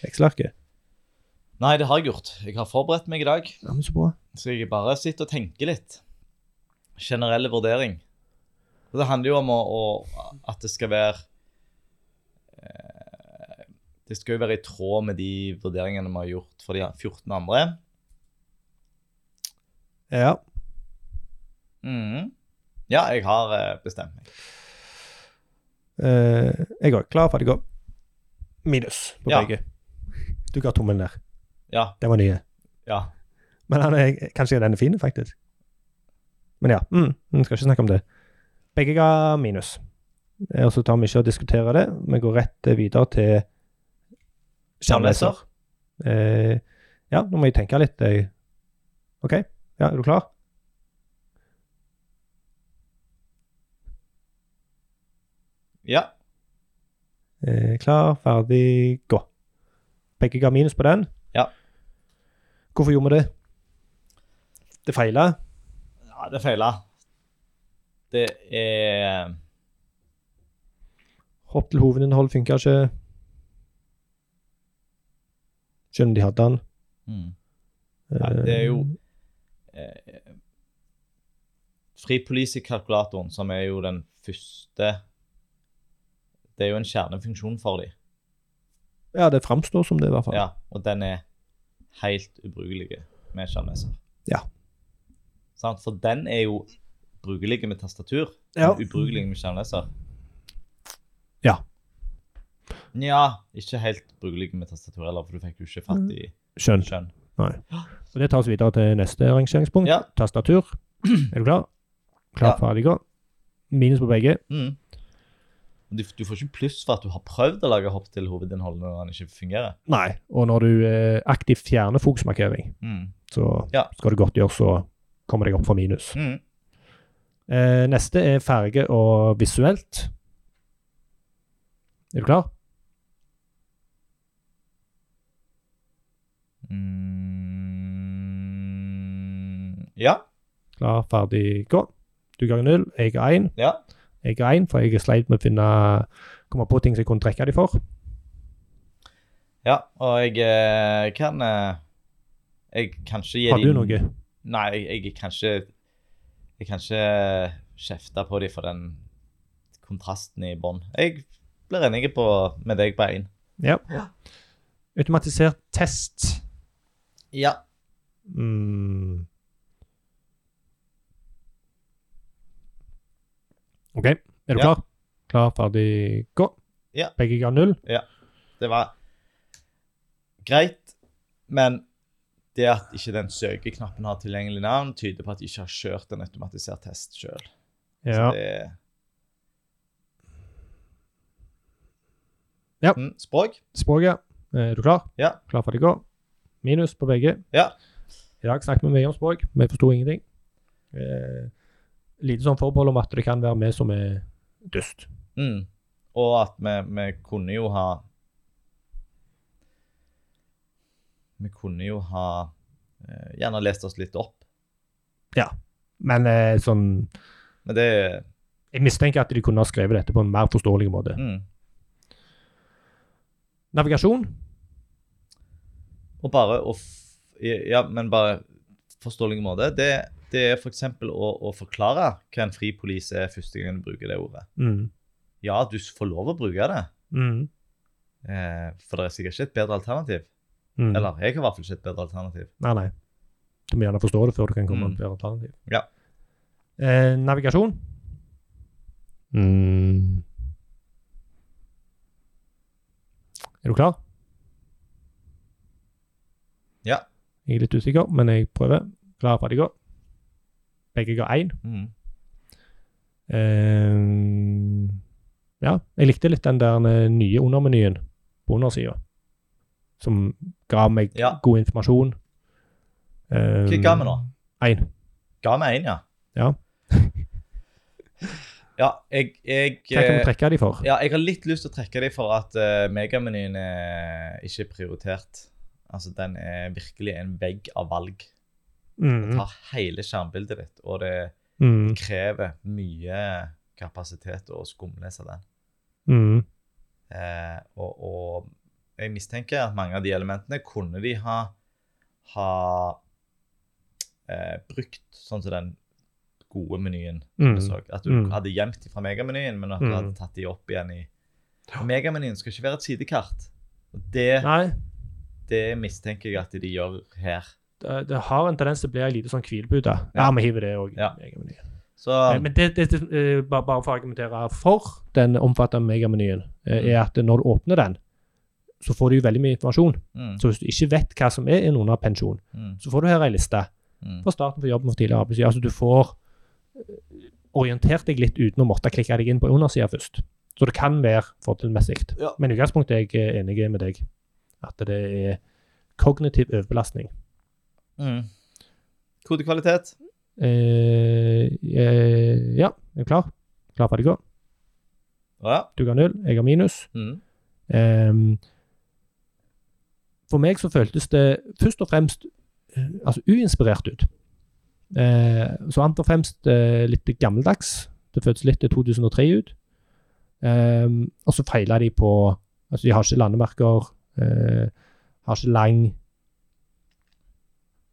Speaker 1: Excel-arket.
Speaker 2: Nei, det har jeg gjort. Jeg har forberedt meg i dag,
Speaker 1: Ja, men så bra.
Speaker 2: så jeg bare sitter og tenker litt. Generelle vurdering. Det handler jo om å, å, at det skal være eh, Det skal jo være i tråd med de vurderingene vi har gjort for de 14 andre.
Speaker 1: Ja,
Speaker 2: Mhm. Ja, jeg har eh, bestemt meg.
Speaker 1: eh, jeg går klar, ferdig, gå. Minus på
Speaker 2: Ja.
Speaker 1: begge. Du ga tommelen der.
Speaker 2: Ja.
Speaker 1: Den var nye.
Speaker 2: ja.
Speaker 1: Men han er, kanskje den er fin, faktisk. Men ja, mm, vi skal ikke snakke om det. Begge ga minus. Eh, Og så tar vi ikke og diskuterer det. Vi går rett eh, videre til skjermleser. Eh, ja, nå må jeg tenke litt. Jeg. OK, ja, er du klar?
Speaker 2: Ja.
Speaker 1: Eh, klar, ferdig, gå. Begge ga minus på den.
Speaker 2: Ja.
Speaker 1: Hvorfor gjorde vi det? Det feila.
Speaker 2: ja, det feila. Det er
Speaker 1: Hopp til hovedinnhold funka ikke. Skjønner de hadde den.
Speaker 2: mm. Ja, det er jo eh, Fripolisekalkulatoren, som er jo den første Det er jo en kjernefunksjon for dem.
Speaker 1: Ja, det framstår som det, i hvert fall.
Speaker 2: Ja, og den er helt ubrukelig med skjermleser.
Speaker 1: Ja.
Speaker 2: Sant? For den er jo brukelig med tastatur,
Speaker 1: Ja.
Speaker 2: men ubrukelig med skjermleser.
Speaker 1: Ja.
Speaker 2: Nja, ikke helt brukelig med tastatur heller, for du fikk jo ikke
Speaker 1: Mm.
Speaker 2: fatt i
Speaker 1: Skjønn.
Speaker 2: skjønn.
Speaker 1: Og det tar oss videre til neste rangeringspunkt.
Speaker 2: Ja.
Speaker 1: Tastatur. Er du klar? Klar,
Speaker 2: Ja.
Speaker 1: ferdig, gå. Minus på begge.
Speaker 2: Mm. Du, du får ikke pluss for at du har prøvd å lage hopp til hovedinnholdet når den ikke fungerer.
Speaker 1: Nei. Og når du eh, aktivt fjerner fokusmarkering,
Speaker 2: Mm.
Speaker 1: så
Speaker 2: Ja.
Speaker 1: skal du godt gjøre så kommer deg opp for minus.
Speaker 2: Mm.
Speaker 1: Eh, neste er farge og visuelt. Er du klar?
Speaker 2: Mm. Ja,
Speaker 1: Klar, ferdig, gå. Du ga null, jeg ga én.
Speaker 2: ja.
Speaker 1: Jeg ga én, for jeg sleit med å finne komme på ting som jeg kunne trekke dem for.
Speaker 2: Ja, og jeg eh, kan eh, Jeg kan ikke gi
Speaker 1: Har du
Speaker 2: dem-
Speaker 1: noe?
Speaker 2: Nei, jeg, jeg kan ikke Jeg kan ikke eh, kjefte på dem for den kontrasten i bånn. Jeg blir enig på, med deg på én.
Speaker 1: Ja.
Speaker 2: Ja.
Speaker 1: Automatisert test.
Speaker 2: Ja.
Speaker 1: Mm. OK, er du
Speaker 2: Ja.
Speaker 1: klar? Klar, ferdig, gå.
Speaker 2: Ja.
Speaker 1: Begge ga null.
Speaker 2: Det var greit, men det at ikke den søkeknappen har tilgjengelig navn, tyder på at de ikke har kjørt en automatisert test sjøl.
Speaker 1: Ja. Ja.
Speaker 2: Mm, språk?
Speaker 1: Språket. eh, Er du klar?
Speaker 2: Ja.
Speaker 1: Klar, ferdig, gå. Minus på begge.
Speaker 2: Ja.
Speaker 1: I dag snakket vi mye om språk. Vi forsto ingenting. Eh, lite sånn forbehold om at det kan være vi som er dust.
Speaker 2: Mm. Og at vi, vi kunne jo ha Vi kunne jo ha eh, gjerne lest oss litt opp,
Speaker 1: Men eh, sånn
Speaker 2: men det
Speaker 1: Jeg mistenker at de kunne ha skrevet dette på en mer forståelig måte.
Speaker 2: mm.
Speaker 1: Navigasjon.
Speaker 2: Og bare å f Ja, men bare forståelig måte. Det, det er f.eks. Å, å forklare hva en fri police er første gang du bruker det ordet.
Speaker 1: Mm.
Speaker 2: Ja, du s- får lov å bruke det,
Speaker 1: Mm.
Speaker 2: eh, for det er sikkert ikke et bedre alternativ.
Speaker 1: Mm.
Speaker 2: Eller jeg har i hvert fall ikke et bedre alternativ.
Speaker 1: Nei, nei. Du må gjerne forstå det før du kan komme
Speaker 2: Mm.
Speaker 1: med et bedre alternativ.
Speaker 2: Ja.
Speaker 1: Eh, navigasjon. Mm. Er du klar?
Speaker 2: Ja.
Speaker 1: Jeg er litt usikker, men jeg prøver. Klar, ferdig, gå. Begge ga én.
Speaker 2: Mm.
Speaker 1: Eh, ja, jeg likte litt den der eh, nye undermenyen på undersida, som ga meg
Speaker 2: Ja.
Speaker 1: god informasjon. Eh,
Speaker 2: Hva ga vi nå?
Speaker 1: Én.
Speaker 2: Ga vi én, ja?
Speaker 1: Ja.
Speaker 2: ja, jeg, jeg
Speaker 1: Hva kan
Speaker 2: eh,
Speaker 1: vi trekke de for?
Speaker 2: Ja, jeg har litt lyst til å trekke dem for at eh, megamenyen er ikke prioritert. Altså, den er virkelig en vegg av valg. Den
Speaker 1: Mm.
Speaker 2: tar hele skjermbildet ditt, og det
Speaker 1: Mm.
Speaker 2: krever mye kapasitet å skumlese den.
Speaker 1: Mm.
Speaker 2: Eh, og, og jeg mistenker at mange av de elementene kunne de ha, ha eh, brukt sånn som den gode menyen
Speaker 1: Mm.
Speaker 2: vi så. At du
Speaker 1: Mm.
Speaker 2: hadde gjemt dem fra megamenyen, men at du
Speaker 1: Mm.
Speaker 2: hadde tatt dem opp igjen i Og Megamenyen skal ikke være et sidekart. Og det,
Speaker 1: Nei,
Speaker 2: det mistenker jeg at de gjør her.
Speaker 1: det, det har en tendens til å bli en liten sånn hvilebute. Ja,
Speaker 2: Ja.
Speaker 1: vi hiver det òg.
Speaker 2: Ja. Så
Speaker 1: Nei, Men det, det, det, eh, bare, bare for å argumentere for den omfattende megamenyen, eh, er at når du åpner den, så får du jo veldig mye informasjon.
Speaker 2: mm,
Speaker 1: Så hvis du ikke vet hva som er en underpensjon,
Speaker 2: mm,
Speaker 1: så får du her ei liste
Speaker 2: mm,
Speaker 1: fra starten for jobben for tidligere arbeidsgiver. Altså du får eh, orientert deg litt uten å måtte klikke deg inn på undersida først. Så det kan være fordelmessig.
Speaker 2: Ja.
Speaker 1: Men i utgangspunktet er jeg eh, enig med deg at det er kognitiv overbelastning.
Speaker 2: mm. Kodekvalitet.
Speaker 1: Eh, eh, ja, er du klar? Klar, ferdig, gå.
Speaker 2: Ja.
Speaker 1: Du ga null, jeg har minus.
Speaker 2: Mm,
Speaker 1: Ehm, for meg så føltes det først og fremst eh, altså uinspirert ut. Eh, så annet og fremst eh, litt gammeldags. Det føltes litt eh, 2003 ut. Ehm, og så feila de på Altså, de har ikke landemerker. eh, har ikke lang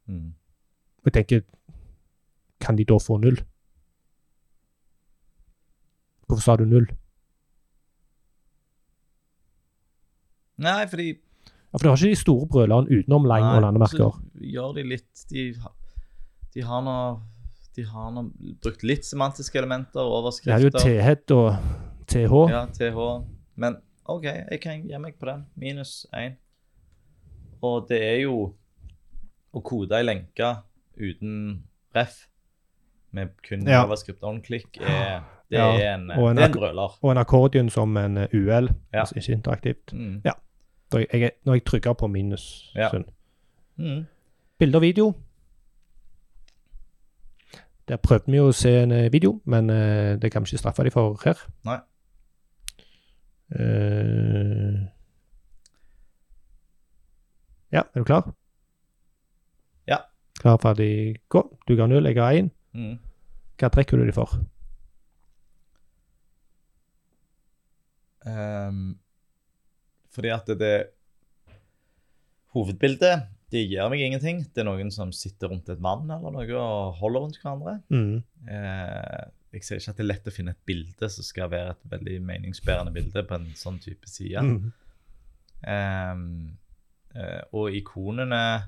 Speaker 2: mm.
Speaker 1: Jeg tenker Kan de da få null? Hvorfor sa du null?
Speaker 2: Nei, fordi
Speaker 1: Ja, for du har ikke de store brølene utenom lang og
Speaker 2: Nei,
Speaker 1: landemerker.
Speaker 2: Så gjør de litt De, ha- de har nå De har nå brukt litt semantiske elementer,
Speaker 1: Det er jo
Speaker 2: overskrifter.
Speaker 1: TH og TH.
Speaker 2: Ja, TH. Men OK, jeg kan gi meg på den. Minus én. Og det er jo å kode ei lenke uten ref med kun
Speaker 1: Ja.
Speaker 2: overskrift on click er Det
Speaker 1: Ja,
Speaker 2: er en,
Speaker 1: og en
Speaker 2: det er en
Speaker 1: ak-
Speaker 2: brøler.
Speaker 1: Og en akkordion som en eh, UL,
Speaker 2: Ja.
Speaker 1: altså ikke interaktivt.
Speaker 2: Mm.
Speaker 1: Ja. Da jeg, jeg, når jeg trykker på minus
Speaker 2: Ja.
Speaker 1: sånn.
Speaker 2: Mm.
Speaker 1: Bilde og video. Der prøvde vi jo å se en eh, video, men eh, det kan vi ikke straffe dem for her.
Speaker 2: Nei.
Speaker 1: Eh, ja, er du klar?
Speaker 2: Ja.
Speaker 1: Klar, ferdig, gå. Du ga null, jeg ga én.
Speaker 2: Mm.
Speaker 1: Hva trekker du dem for?
Speaker 2: Ehm, fordi at det, det Hovedbildet det gir meg ingenting. Det er noen som sitter rundt et vann eller noe og holder rundt hverandre.
Speaker 1: Mm.
Speaker 2: Eh, jeg ser ikke at det er lett å finne et bilde som skal være et veldig meningsbærende bilde på en sånn type side.
Speaker 1: Mm.
Speaker 2: Ehm, eh, og ikonene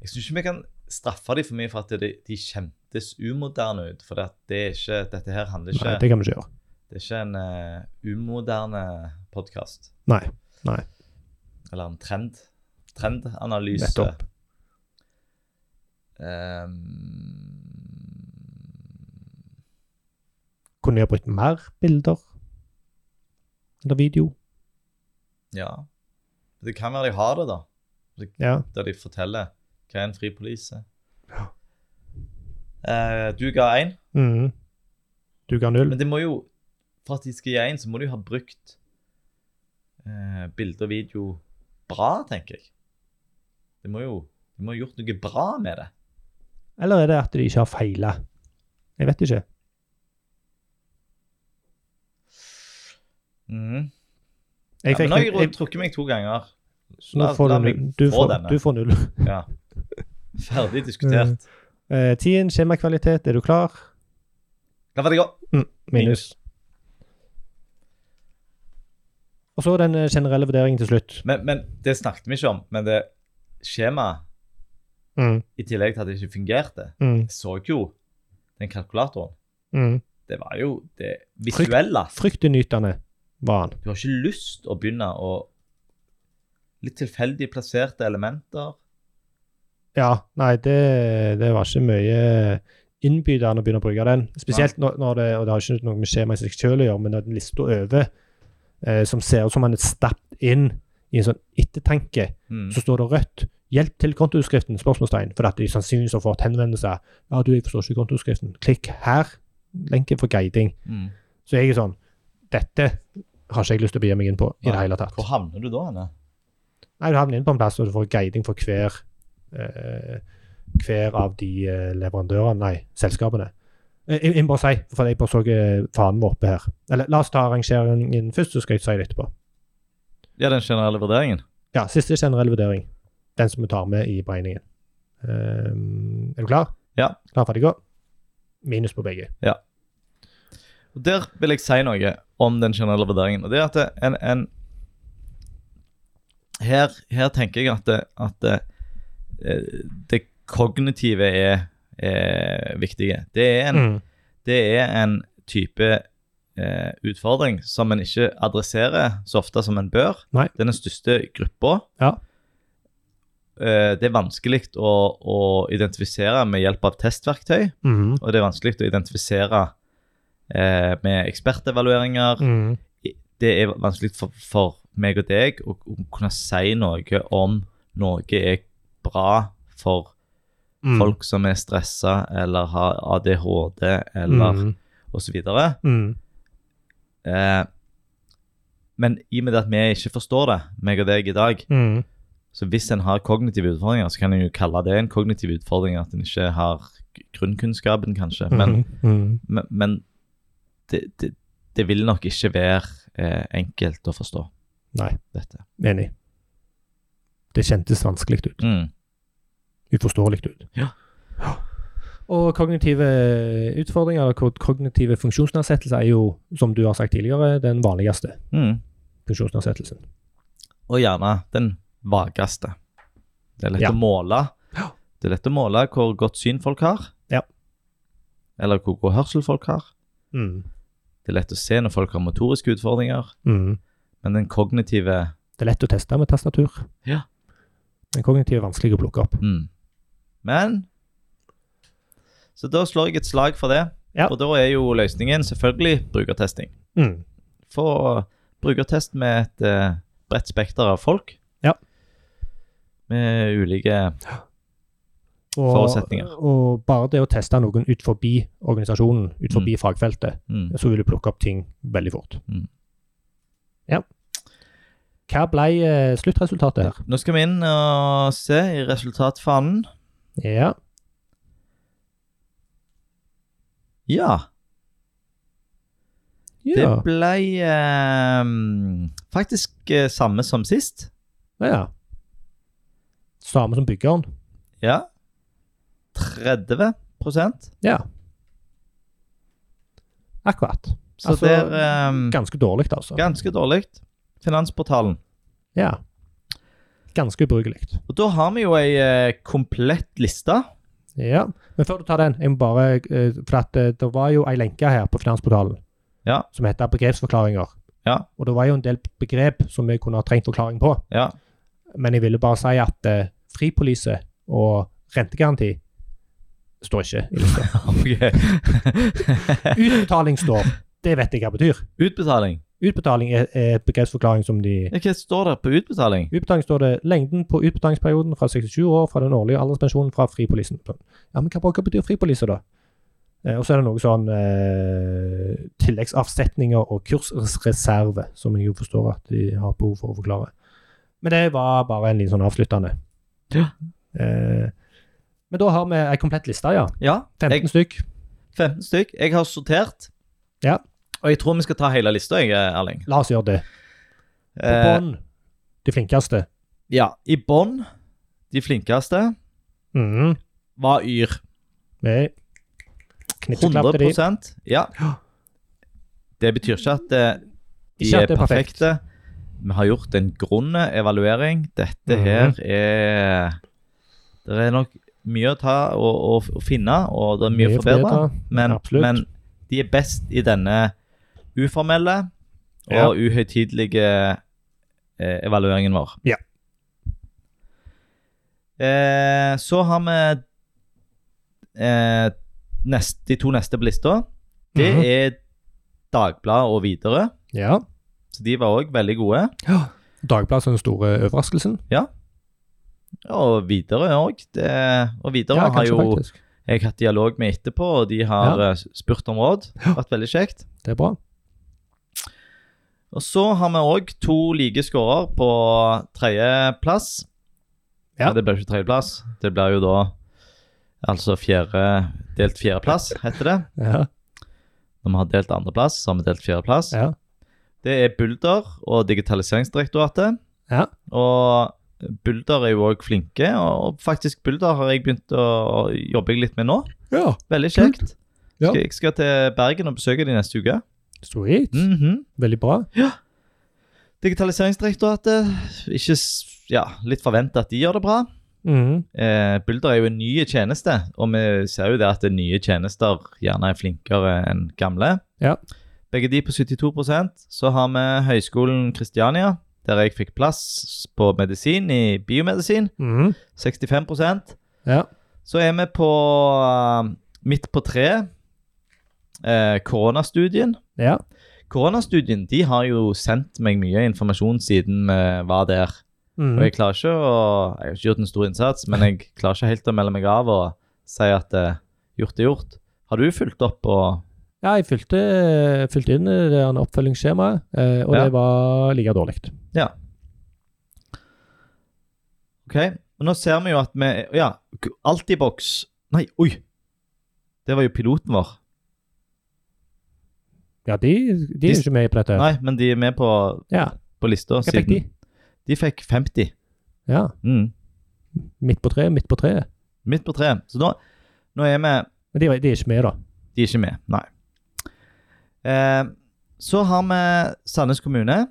Speaker 2: Jeg syns ikke vi kan straffe dem for mye for at de, de kjentes umoderne ut. For at det er ikke, dette her handler ikke
Speaker 1: Nei, det kan vi ikke gjøre.
Speaker 2: det er ikke en eh, umoderne podkast.
Speaker 1: Nei, nei.
Speaker 2: Eller en trend. Trendanalyse.
Speaker 1: Nettopp.
Speaker 2: Ehm,
Speaker 1: Kunne jeg ha brukt mer bilder? Eller video?
Speaker 2: ja. Det kan være de har det, da.
Speaker 1: Ja.
Speaker 2: Der de forteller hva er en fri polise.
Speaker 1: Ja.
Speaker 2: Eh, du ga én,
Speaker 1: Mhm. Du ga null?
Speaker 2: men det må jo For at de skal gi én, så må de jo ha brukt eh, bilde og video bra, tenker jeg. De må jo de må ha gjort noe bra med det.
Speaker 1: Eller er det at de ikke har feila? Jeg vet ikke.
Speaker 2: Mhm.
Speaker 1: Jeg
Speaker 2: ja,
Speaker 1: fikk
Speaker 2: men nå har jeg
Speaker 1: jeg-
Speaker 2: ro- trukket meg to ganger.
Speaker 1: så nå
Speaker 2: la-
Speaker 1: får
Speaker 2: la
Speaker 1: du,
Speaker 2: meg
Speaker 1: null. du,
Speaker 2: få denne.
Speaker 1: får, du får null.
Speaker 2: Ja. Ferdig diskutert.
Speaker 1: Eh, Tien, skjemakvalitet, er du klar?
Speaker 2: Da var det godt.
Speaker 1: Minus. Og så den eh, generelle vurderingen til slutt.
Speaker 2: Men, men det snakket vi ikke om. Men det skjemaet
Speaker 1: Mm,
Speaker 2: i tillegg til at det ikke fungerte,
Speaker 1: mm,
Speaker 2: jeg så jo den kalkulatoren.
Speaker 1: mm.
Speaker 2: Det var jo det visuelle.
Speaker 1: Fryktinngytende var han.
Speaker 2: Du har ikke lyst å begynne å Litt tilfeldig plasserte elementer.
Speaker 1: Ja, nei, det, det var ikke mye innbydende å begynne å bruke den. Spesielt når, når det, og det har ikke noe med skjemaet i seg selv å gjøre, men når den lista over, eh, som ser ut som han er stappet inn i en sånn ettertanke,
Speaker 2: Mm.
Speaker 1: så står det rødt. Hjelp til kontoutskriften? spørsmålstegn, For at de sannsynligvis har fått henvendelser. Ja, du, jeg forstår ikke kontoutskriften. Klikk her. Lenke for guiding.
Speaker 2: Mm.
Speaker 1: Så jeg er sånn Dette har ikke jeg lyst til å begi meg inn på i det
Speaker 2: Nei.
Speaker 1: hele tatt.
Speaker 2: Hvor havner du da? Anne?
Speaker 1: Nei, du havner inn på en plass og du får guiding for hver, eh, hver av de eh, leverandørene, nei, selskapene. Eh, Jeg, jeg må bare si, for jeg bare så eh, fanen vår oppe her. Eller la oss ta rangeringen først, så skal jeg si det etterpå.
Speaker 2: Ja, den generelle vurderingen.
Speaker 1: Ja, siste generell vurdering. Den som vi tar med i beregningen. Eh, er du klar?
Speaker 2: Ja.
Speaker 1: Klar, ferdig, gå. Minus på begge.
Speaker 2: Og Der vil jeg si noe om den generelle vurderingen. Og det er at det- en, en her, her tenker jeg at, det, at det, eh, det kognitive er, er viktige. Det er en,
Speaker 1: Mm.
Speaker 2: det er en type eh, utfordring som en ikke adresserer så ofte som en bør.
Speaker 1: Nei.
Speaker 2: Det er den største gruppa.
Speaker 1: Ja.
Speaker 2: Eh, det er vanskelig å, å identifisere med hjelp av testverktøy,
Speaker 1: Mhm.
Speaker 2: og det er vanskelig å identifisere eh, med ekspertevalueringer.
Speaker 1: Mhm.
Speaker 2: Det er vanskelig for, for meg og deg å, å kunne si noe om noe er bra for
Speaker 1: Mhm.
Speaker 2: folk som er stressa eller har ADHD eller
Speaker 1: Mhm.
Speaker 2: osv. videre
Speaker 1: Mhm.
Speaker 2: Eh, men i og med at vi ikke forstår det, meg og deg i dag,
Speaker 1: Mhm.
Speaker 2: så hvis en har kognitive utfordringer, så kan en jo kalle det en kognitiv utfordring at en ikke har grunnkunnskapen, kanskje. Men,
Speaker 1: Mhm.
Speaker 2: men, men det, det, det vil nok ikke være eh, enkelt å forstå
Speaker 1: Nei.
Speaker 2: dette.
Speaker 1: Enig. Det kjentes vanskelig ut.
Speaker 2: Mm.
Speaker 1: uforståelig ut.
Speaker 2: Ja.
Speaker 1: Og kognitive utfordringer, eller kog- kognitive funksjonsnedsettelser, er jo, som du har sagt tidligere, den vanligste
Speaker 2: Mm.
Speaker 1: funksjonsnedsettelsen.
Speaker 2: Og gjerne den vageste. Det er lett
Speaker 1: Ja.
Speaker 2: å måle.
Speaker 1: Ja.
Speaker 2: Det er lett å måle hvor godt syn folk har,
Speaker 1: Ja.
Speaker 2: eller hvor god hørsel folk har.
Speaker 1: Mm.
Speaker 2: Det er lett å se når folk har motoriske utfordringer,
Speaker 1: Mm.
Speaker 2: men den kognitive
Speaker 1: Det er lett å teste med tastatur.
Speaker 2: Ja.
Speaker 1: Men kognitiv er vanskelig å plukke opp.
Speaker 2: Mm. Men Så da slår jeg et slag for det.
Speaker 1: Ja.
Speaker 2: Og da er jo løsningen selvfølgelig brukertesting.
Speaker 1: Mm.
Speaker 2: Få brukertest med et eh, bredt spekter av folk.
Speaker 1: Ja.
Speaker 2: Med ulike
Speaker 1: Og,
Speaker 2: Forutsetninger.
Speaker 1: Og bare det å teste noen ut forbi organisasjonen, ut forbi fagfeltet,
Speaker 2: mm.
Speaker 1: så vil du plukke opp ting veldig fort.
Speaker 2: Mm.
Speaker 1: Ja. Hva ble eh, sluttresultatet her?
Speaker 2: Nå skal vi inn og se i resultatfanen.
Speaker 1: Ja.
Speaker 2: Ja, det
Speaker 1: Ja.
Speaker 2: ble eh, faktisk eh, samme som sist.
Speaker 1: ja. Samme som byggeren.
Speaker 2: Ja. 30
Speaker 1: Ja. Akkurat.
Speaker 2: Så
Speaker 1: Altså,
Speaker 2: der eh,
Speaker 1: Ganske dårlig, altså.
Speaker 2: Ganske dårlig. Finansportalen.
Speaker 1: Ja. Ganske ubrukelig.
Speaker 2: Og da har vi jo ei eh, komplett liste.
Speaker 1: Ja. Men før du tar den, jeg må bare eh, For at eh, det var jo ei lenke her på Finansportalen
Speaker 2: Ja.
Speaker 1: som heter begrepsforklaringer.
Speaker 2: Ja.
Speaker 1: Og det var jo en del begrep som vi kunne ha trengt forklaring på.
Speaker 2: Ja.
Speaker 1: Men jeg ville bare si at eh, fripolise og rentegaranti står ikke i lista.
Speaker 2: Ok.
Speaker 1: Utbetaling står. Det vet jeg hva betyr.
Speaker 2: utbetaling.
Speaker 1: Utbetaling er, er et begrepsforklaring som de
Speaker 2: Ja, Hva står det på utbetaling?
Speaker 1: Utbetaling står det lengden på utbetalingsperioden fra 67 år fra den årlige alderspensjonen fra fripolisen. Ja, men hva, hva betyr fripolise, da? Eh, og så er det noe sånn eh, tilleggsavsetninger og kursreserve, som jeg jo forstår at de har behov for å forklare. Men det var bare en liten sånn avsluttende.
Speaker 2: Ja.
Speaker 1: Eh, men da har vi ei komplett liste, ja.
Speaker 2: Ja,
Speaker 1: 15
Speaker 2: jeg,
Speaker 1: stykk.
Speaker 2: 15 stykk. Jeg har sortert.
Speaker 1: Ja.
Speaker 2: Og jeg tror vi skal ta hele lista, jeg, Erling.
Speaker 1: La oss gjøre det. På
Speaker 2: Eh,
Speaker 1: bånn, de flinkeste.
Speaker 2: ja. I bånn, de flinkeste,
Speaker 1: Mm.
Speaker 2: var Yr.
Speaker 1: Vi knipser klapp til de.
Speaker 2: 100 Ja.
Speaker 1: Ja.
Speaker 2: Det betyr ikke at eh, de
Speaker 1: Ikke at
Speaker 2: er
Speaker 1: det er perfekt.
Speaker 2: perfekte. Vi har gjort en grunn evaluering. Dette
Speaker 1: Mhm.
Speaker 2: her er Det er nok mye å ta og, og, og finne, og det er mye, å forbedre. Men,
Speaker 1: Absolutt.
Speaker 2: men De er best i denne uformelle og
Speaker 1: Ja.
Speaker 2: uhøytidelige eh, evalueringen vår.
Speaker 1: Ja.
Speaker 2: Eh, så har vi eh, nest, de to neste på lista. Det
Speaker 1: Mhm.
Speaker 2: er Dagbladet og Widerøe.
Speaker 1: Ja.
Speaker 2: Så de var òg veldig gode.
Speaker 1: Dagbladet er den store overraskelsen.
Speaker 2: Og Widerøe òg. Det- Og Widerøe
Speaker 1: Ja,
Speaker 2: har
Speaker 1: kanskje
Speaker 2: jo
Speaker 1: faktisk.
Speaker 2: jeg har hatt dialog med etterpå, og de har eh, spurt om råd. Vært veldig kjekt.
Speaker 1: Det er bra.
Speaker 2: Og så har vi òg to like skårer på tredjeplass.
Speaker 1: Ja.
Speaker 2: Ja. Det blir ikke tredjeplass. Det blir jo da altså fjerde Delt fjerdeplass, heter det.
Speaker 1: Ja.
Speaker 2: Når vi har delt andreplass, så har vi delt fjerdeplass.
Speaker 1: Ja.
Speaker 2: Det er Bulder og Digitaliseringsdirektoratet.
Speaker 1: Ja.
Speaker 2: Og Bulder er jo òg flinke, og faktisk Bulder har jeg begynt å å jobbe litt med nå.
Speaker 1: ja.
Speaker 2: Veldig kjekt.
Speaker 1: Ja.
Speaker 2: Skal, jeg skal til Bergen og besøke de neste uke.
Speaker 1: Sweet.
Speaker 2: Mhm.
Speaker 1: Veldig bra.
Speaker 2: Digitaliseringsdirektoratet, ikke, s- ja, litt forventa at de gjør det bra.
Speaker 1: Mhm.
Speaker 2: Eh, Bulder er jo en ny tjeneste, og vi ser jo det at nye tjenester gjerne er flinkere enn gamle.
Speaker 1: Ja.
Speaker 2: Begge de på 72 Så har vi Høgskolen Kristiania, der jeg fikk plass på medisin i biomedisin.
Speaker 1: Mhm.
Speaker 2: 65
Speaker 1: Ja.
Speaker 2: Så er vi på eh, midt på treet. Eh, koronastudien.
Speaker 1: Ja.
Speaker 2: Koronastudien de har jo sendt meg mye informasjon siden vi var der.
Speaker 1: Mhm.
Speaker 2: Og jeg klarer ikke å Jeg har ikke gjort en stor innsats, men jeg klarer ikke helt å melde meg av og si at eh, gjort er gjort. Har du fulgt opp og
Speaker 1: Ja, jeg fylte, fylte inn det der oppfølgingsskjemaet, eh, og
Speaker 2: Ja.
Speaker 1: det var like dårlig.
Speaker 2: OK? Og nå ser vi jo at vi Ja, Altibox Nei, oi! Det var jo piloten vår.
Speaker 1: Ja, de, de er jo ikke med på dette.
Speaker 2: Nei, men de er med på,
Speaker 1: Ja,
Speaker 2: på lista
Speaker 1: Hva fikk de?
Speaker 2: siden De fikk 50.
Speaker 1: Ja,
Speaker 2: Mm.
Speaker 1: midt på treet, midt på treet.
Speaker 2: Midt på treet. Så nå, nå er vi
Speaker 1: Men de, var- de er ikke med, da.
Speaker 2: De er ikke med, nei. Eh, så har vi Sandnes kommune.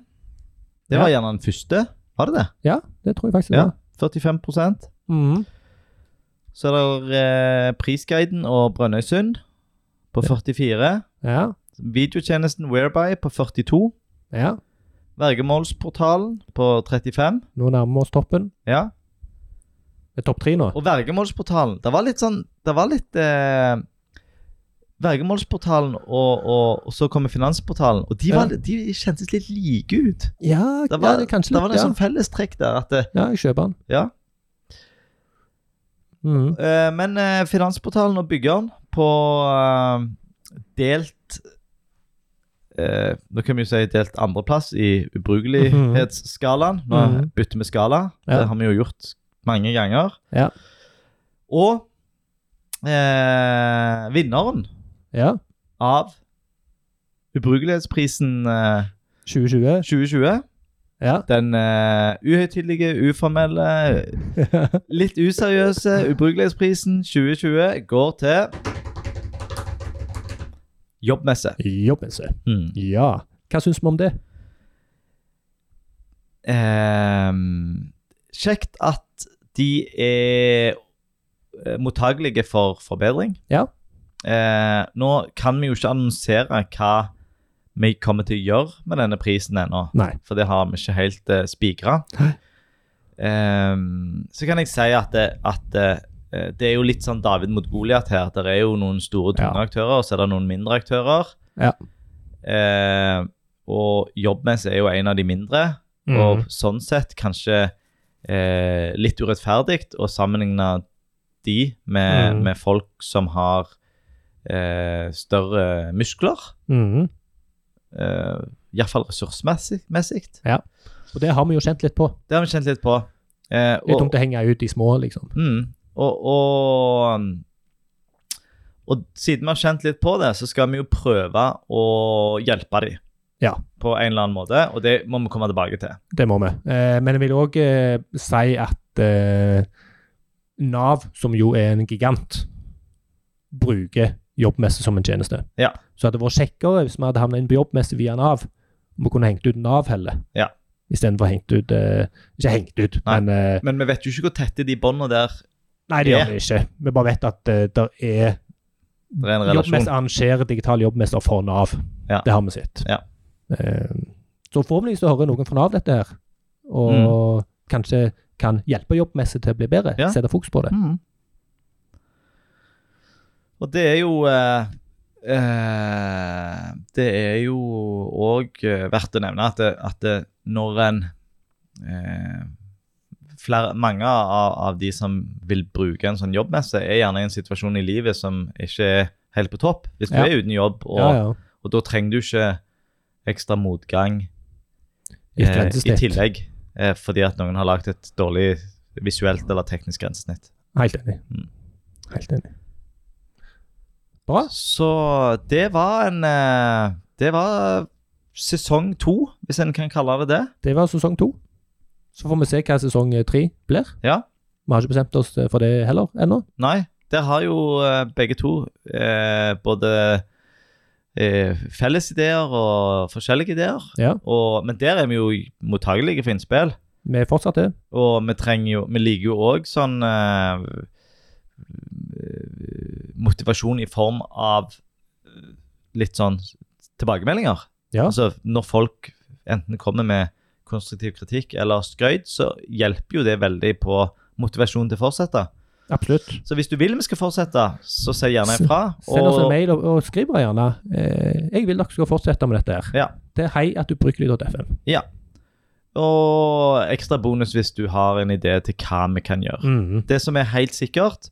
Speaker 2: Det var gjerne den første, var det det?
Speaker 1: Ja, det tror jeg faktisk det
Speaker 2: Ja.
Speaker 1: var.
Speaker 2: 45
Speaker 1: Mhm.
Speaker 2: Så er det eh, Prisguiden og Brønnøysund på 44.
Speaker 1: Ja,
Speaker 2: Videotjenesten Whereby på 42.
Speaker 1: ja.
Speaker 2: Vergemålsportalen på 35.
Speaker 1: Nå nærmer vi oss toppen.
Speaker 2: Ja.
Speaker 1: Det er topp tre nå.
Speaker 2: Og Vergemålsportalen Det var litt sånn Det var litt eh, Vergemålsportalen og, og, og så kommer Finansportalen, og de, var, de kjentes litt like ut.
Speaker 1: Ja,
Speaker 2: Det var,
Speaker 1: ja, det er kanskje
Speaker 2: det var
Speaker 1: litt. Ja.
Speaker 2: noen sånn fellestrekk der. At det,
Speaker 1: ja, jeg kjøper den.
Speaker 2: ja.
Speaker 1: Mhm.
Speaker 2: Eh, men eh, Finansportalen og byggeren på eh, delt eh, Nå kan vi jo si delt andreplass i ubrukelighetsskalaen. Nå
Speaker 1: Mhm.
Speaker 2: bytter vi skala.
Speaker 1: Ja.
Speaker 2: Det har vi jo gjort mange ganger.
Speaker 1: Ja.
Speaker 2: Og eh, vinneren
Speaker 1: Ja,
Speaker 2: av Ubrukelighetsprisen eh,
Speaker 1: 2020.
Speaker 2: 2020.
Speaker 1: Ja.
Speaker 2: Den eh, uhøytidelige, uformelle, litt useriøse Ubrukelighetsprisen 2020 går til Jobbmesse. Hmm.
Speaker 1: Jobbmesse. Ja. Hva syns vi om det?
Speaker 2: Ehm, kjekt at de er eh, mottagelige for forbedring.
Speaker 1: Ja.
Speaker 2: Eh, nå kan vi jo ikke annonsere hva vi kommer til å gjøre med denne prisen ennå.
Speaker 1: Nei.
Speaker 2: For det har vi ikke helt uh, spigra.
Speaker 1: Nei.
Speaker 2: Ehm, så kan jeg si at, det, at eh, det er jo litt sånn David mot Goliat her. Det er jo noen store, tunge
Speaker 1: Ja.
Speaker 2: aktører, og så er det noen mindre aktører.
Speaker 1: Ja.
Speaker 2: Ehm, og jobbmessig er jo en av de mindre,
Speaker 1: Mhm.
Speaker 2: og sånn sett kanskje eh, litt urettferdig å sammenligne de med,
Speaker 1: Mhm.
Speaker 2: med folk som har eh, større muskler.
Speaker 1: Mhm.
Speaker 2: Eh, Iallfall ressursmessig. messig.
Speaker 1: Og det har vi jo kjent litt på.
Speaker 2: Det har vi kjent litt på. Eh,
Speaker 1: Litt dumt å henge ut de små, liksom.
Speaker 2: Mm, og, og, um, og siden vi har kjent litt på det, så skal vi jo prøve å hjelpe dem.
Speaker 1: Ja.
Speaker 2: På en eller annen måte, og det må vi komme tilbake til.
Speaker 1: Det må vi. Eh, men jeg vil òg eh, si at eh, Nav, som jo er en gigant, bruker jobbmesse som en tjeneste.
Speaker 2: Ja.
Speaker 1: Så hadde det vært kjekkere hvis vi hadde havnet inn på jobbmesse via Nav, om vi kunne hengt ut Nav heller.
Speaker 2: Ja.
Speaker 1: Istedenfor hengt ut eh, Ikke hengt ut,
Speaker 2: Nei.
Speaker 1: men eh,
Speaker 2: Men vi vet jo ikke hvor tette de båndene der
Speaker 1: Nei, det gjør vi ikke. Vi bare vet at det der eh, er
Speaker 2: Det er en relasjon.
Speaker 1: Jobbmester arrangerer digital jobbmester for Nav.
Speaker 2: Ja.
Speaker 1: Det har vi sett.
Speaker 2: Ja.
Speaker 1: Eh, Så forhåpentligvis så hører noen fra Nav dette her, og kanskje kan hjelpe jobbmester til å bli bedre.
Speaker 2: Mm. Ja.
Speaker 1: Sette fokus på det.
Speaker 2: Mm. Og det er jo eh, eh, Det er jo òg eh, verdt å nevne at, det- at det, når en eh, flere, Mange av, av de som vil bruke en sånn jobbmesse, er gjerne i en situasjon i livet som ikke er helt på topp. Hvis du
Speaker 1: Ja.
Speaker 2: er uten jobb, og,
Speaker 1: Ja, ja.
Speaker 2: og da trenger du ikke ekstra motgang
Speaker 1: I et
Speaker 2: eh, i
Speaker 1: grensesnitt.
Speaker 2: tillegg eh, fordi at noen har lagd et dårlig visuelt eller teknisk grensesnitt.
Speaker 1: Helt enig.
Speaker 2: Mm.
Speaker 1: Helt enig. Bra.
Speaker 2: Så det var en eh, Det var sesong to, hvis en kan kalle det det.
Speaker 1: Det var sesong to. Så får vi se hva sesong eh, tre blir.
Speaker 2: Ja.
Speaker 1: Vi har ikke bestemt oss eh, for det heller ennå.
Speaker 2: Nei, der har jo eh, begge to eh, både eh, felles ideer og forskjellige ideer.
Speaker 1: Ja.
Speaker 2: Og, men der er vi jo mottagelige for innspill.
Speaker 1: Vi er fortsatt det.
Speaker 2: Og vi trenger jo Vi liker jo òg sånn eh, Motivasjon i form av eh, litt sånn tilbakemeldinger.
Speaker 1: Ja.
Speaker 2: Altså, når folk enten kommer med konstruktiv kritikk eller skryt, så hjelper jo det veldig på motivasjonen til å fortsette.
Speaker 1: Absolutt.
Speaker 2: Så hvis du vil vi skal fortsette, så si gjerne
Speaker 1: S-
Speaker 2: ifra.
Speaker 1: Send oss en
Speaker 2: og-
Speaker 1: mail og, og skriv bare gjerne. Eh, jeg vil dere skal fortsette med dette her.
Speaker 2: Ja.
Speaker 1: Det er hei at ubrukelig.fm.
Speaker 2: Og ekstra bonus hvis du har en idé til hva vi kan gjøre.
Speaker 1: Mm.
Speaker 2: Det som er helt sikkert,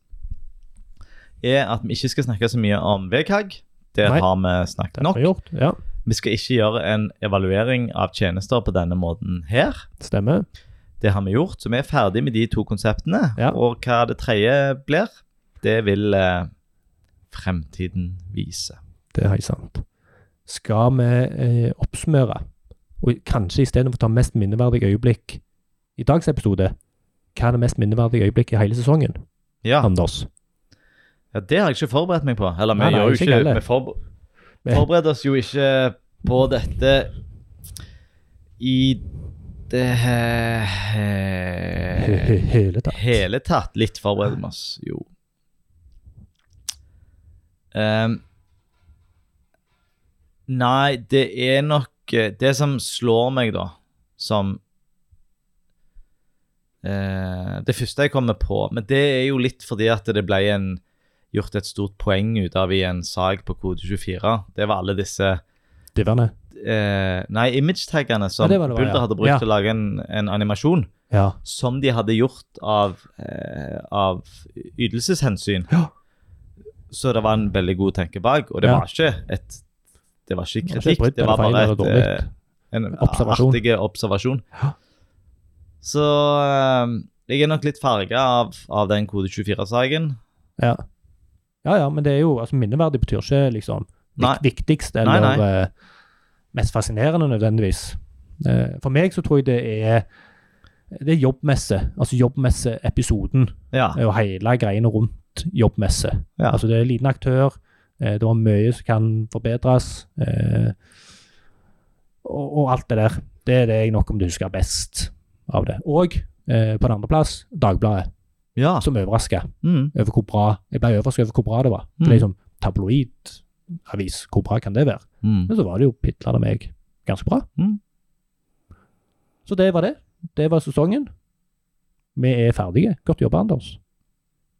Speaker 2: er at vi ikke skal snakke så mye om VKG. Det
Speaker 1: Nei.
Speaker 2: har vi
Speaker 1: Det
Speaker 2: snakket
Speaker 1: har
Speaker 2: nok.
Speaker 1: vi gjort. Ja,
Speaker 2: Vi skal ikke gjøre en evaluering av tjenester på denne måten her.
Speaker 1: stemmer.
Speaker 2: Det har vi gjort, så vi er ferdig med de to konseptene.
Speaker 1: Ja.
Speaker 2: Og hva det tredje blir, det vil eh, fremtiden vise.
Speaker 1: Det er helt sant. Skal vi eh, oppsummere, og kanskje istedenfor å ta mest minneverdige øyeblikk i dagens episode, hva er det mest minneverdige øyeblikket i hele sesongen,
Speaker 2: Ja.
Speaker 1: Anders?
Speaker 2: ja, det har jeg ikke forberedt meg på. Eller, vi,
Speaker 1: Nei, nei,
Speaker 2: gjør jo
Speaker 1: ikke
Speaker 2: ikke,
Speaker 1: heller.
Speaker 2: vi forber
Speaker 1: Vi-
Speaker 2: forbereder oss jo ikke på dette i det
Speaker 1: He-
Speaker 2: he
Speaker 1: he- Hele tatt.
Speaker 2: hele tatt. Litt forbereder vi oss, jo. Ehm, nei, det er nok eh, Det som slår meg, da, som eh, Det første jeg kommer på, men det er jo litt fordi at det ble en, gjort et stort poeng ut av i en sak på Kode 24. Det var alle disse
Speaker 1: Diverne.
Speaker 2: eh, Nei, image-taggene som
Speaker 1: Ja, det var det,
Speaker 2: Bulder
Speaker 1: ja.
Speaker 2: hadde brukt
Speaker 1: Ja.
Speaker 2: til å lage en, en animasjon
Speaker 1: Ja.
Speaker 2: som de hadde gjort av, eh, av ytelseshensyn.
Speaker 1: Ja.
Speaker 2: Så det var en veldig god tenke bak, og det
Speaker 1: Ja.
Speaker 2: var ikke et det var ikke
Speaker 1: Det var ikke
Speaker 2: kritikk,
Speaker 1: et brudd,
Speaker 2: det var
Speaker 1: eller feil,
Speaker 2: bare
Speaker 1: eller
Speaker 2: et,
Speaker 1: dårlig.
Speaker 2: eh, en
Speaker 1: Observasjon.
Speaker 2: artig observasjon.
Speaker 1: Ja.
Speaker 2: Så eh, jeg er nok litt farga av, av den kode 24-saken.
Speaker 1: Ja. ja, ja, men det er jo altså, Minneverdig betyr ikke liksom vik
Speaker 2: Nei.
Speaker 1: viktigst
Speaker 2: Nei,
Speaker 1: eller
Speaker 2: nei.
Speaker 1: eh, mest fascinerende nødvendigvis. Eh, for meg så tror jeg det er det er jobbmesse. Altså jobbmesseepisoden
Speaker 2: Ja.
Speaker 1: eh, og hele greiene rundt jobbmesse.
Speaker 2: Ja.
Speaker 1: Altså det er en liten aktør, eh, det var mye som kan forbedres, eh, og, og alt det der. Det er det jeg nok om du husker best av det. Og eh, på den andre plass, Dagbladet,
Speaker 2: ja.
Speaker 1: som overrasker
Speaker 2: Mm.
Speaker 1: over hvor bra Jeg ble overrasket over hvor bra det var. For
Speaker 2: Mm.
Speaker 1: det er liksom tabloid avis, hvor bra kan det være?
Speaker 2: Mm.
Speaker 1: Men så var det jo pitla det meg ganske bra.
Speaker 2: Mm.
Speaker 1: Så det var det. Det var sesongen. Vi er ferdige. Godt jobba, Anders.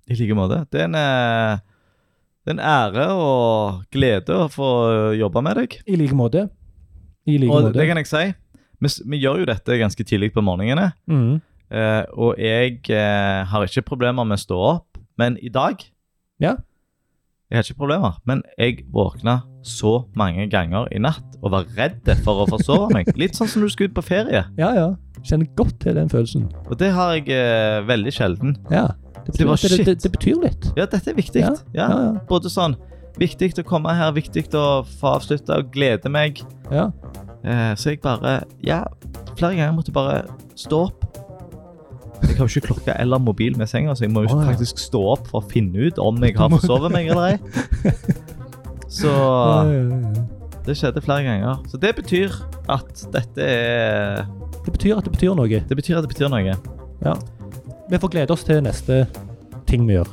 Speaker 2: I like måte. Det er en, eh, det er en ære og glede å få jobbe med deg.
Speaker 1: I like måte. I like
Speaker 2: Og
Speaker 1: måte.
Speaker 2: det kan jeg si. Vi, s- vi gjør jo dette ganske tidlig på morgenene.
Speaker 1: Mm.
Speaker 2: eh, og jeg eh, har ikke problemer med å stå opp, men i dag
Speaker 1: Ja.
Speaker 2: Jeg har ikke problemer, men jeg våkna så mange ganger i natt og var redd for å forsove meg. Litt sånn som når du skal ut på ferie.
Speaker 1: Ja, ja. Kjenner godt til den følelsen.
Speaker 2: Og det har jeg eh, veldig sjelden.
Speaker 1: Ja. Det
Speaker 2: Det
Speaker 1: betyr,
Speaker 2: var
Speaker 1: at det,
Speaker 2: shit.
Speaker 1: det, det betyr litt.
Speaker 2: Ja, dette er viktig.
Speaker 1: Ja,
Speaker 2: Ja.
Speaker 1: ja, ja.
Speaker 2: Både sånn Viktig å komme her, viktig å få avslutta og glede meg.
Speaker 1: Ja.
Speaker 2: Eh, så jeg bare Ja, flere ganger måtte jeg bare stå opp. Jeg har jo ikke klokke eller mobil med senga, så jeg må jo
Speaker 1: Å, ja.
Speaker 2: faktisk stå opp for å finne ut om jeg har forsovet meg eller ei. Så
Speaker 1: Ja, ja, ja.
Speaker 2: det skjedde flere ganger. Så det betyr at dette er
Speaker 1: Det betyr at det betyr noe.
Speaker 2: Det betyr at det betyr noe.
Speaker 1: Mm. Vi får glede oss til neste ting vi gjør.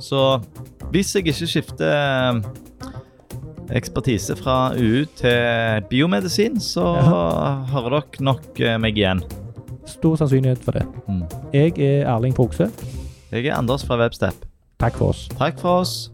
Speaker 2: Så Hvis jeg ikke skifter eh, ekspertise fra UU til biomedisin, så hører dere nok eh, meg igjen.
Speaker 1: Stor sannsynlighet for det.
Speaker 2: Mm.
Speaker 1: Jeg er Erling Fogse.
Speaker 2: Jeg er Anders fra Webstep.
Speaker 1: Takk for oss.
Speaker 2: Takk for oss.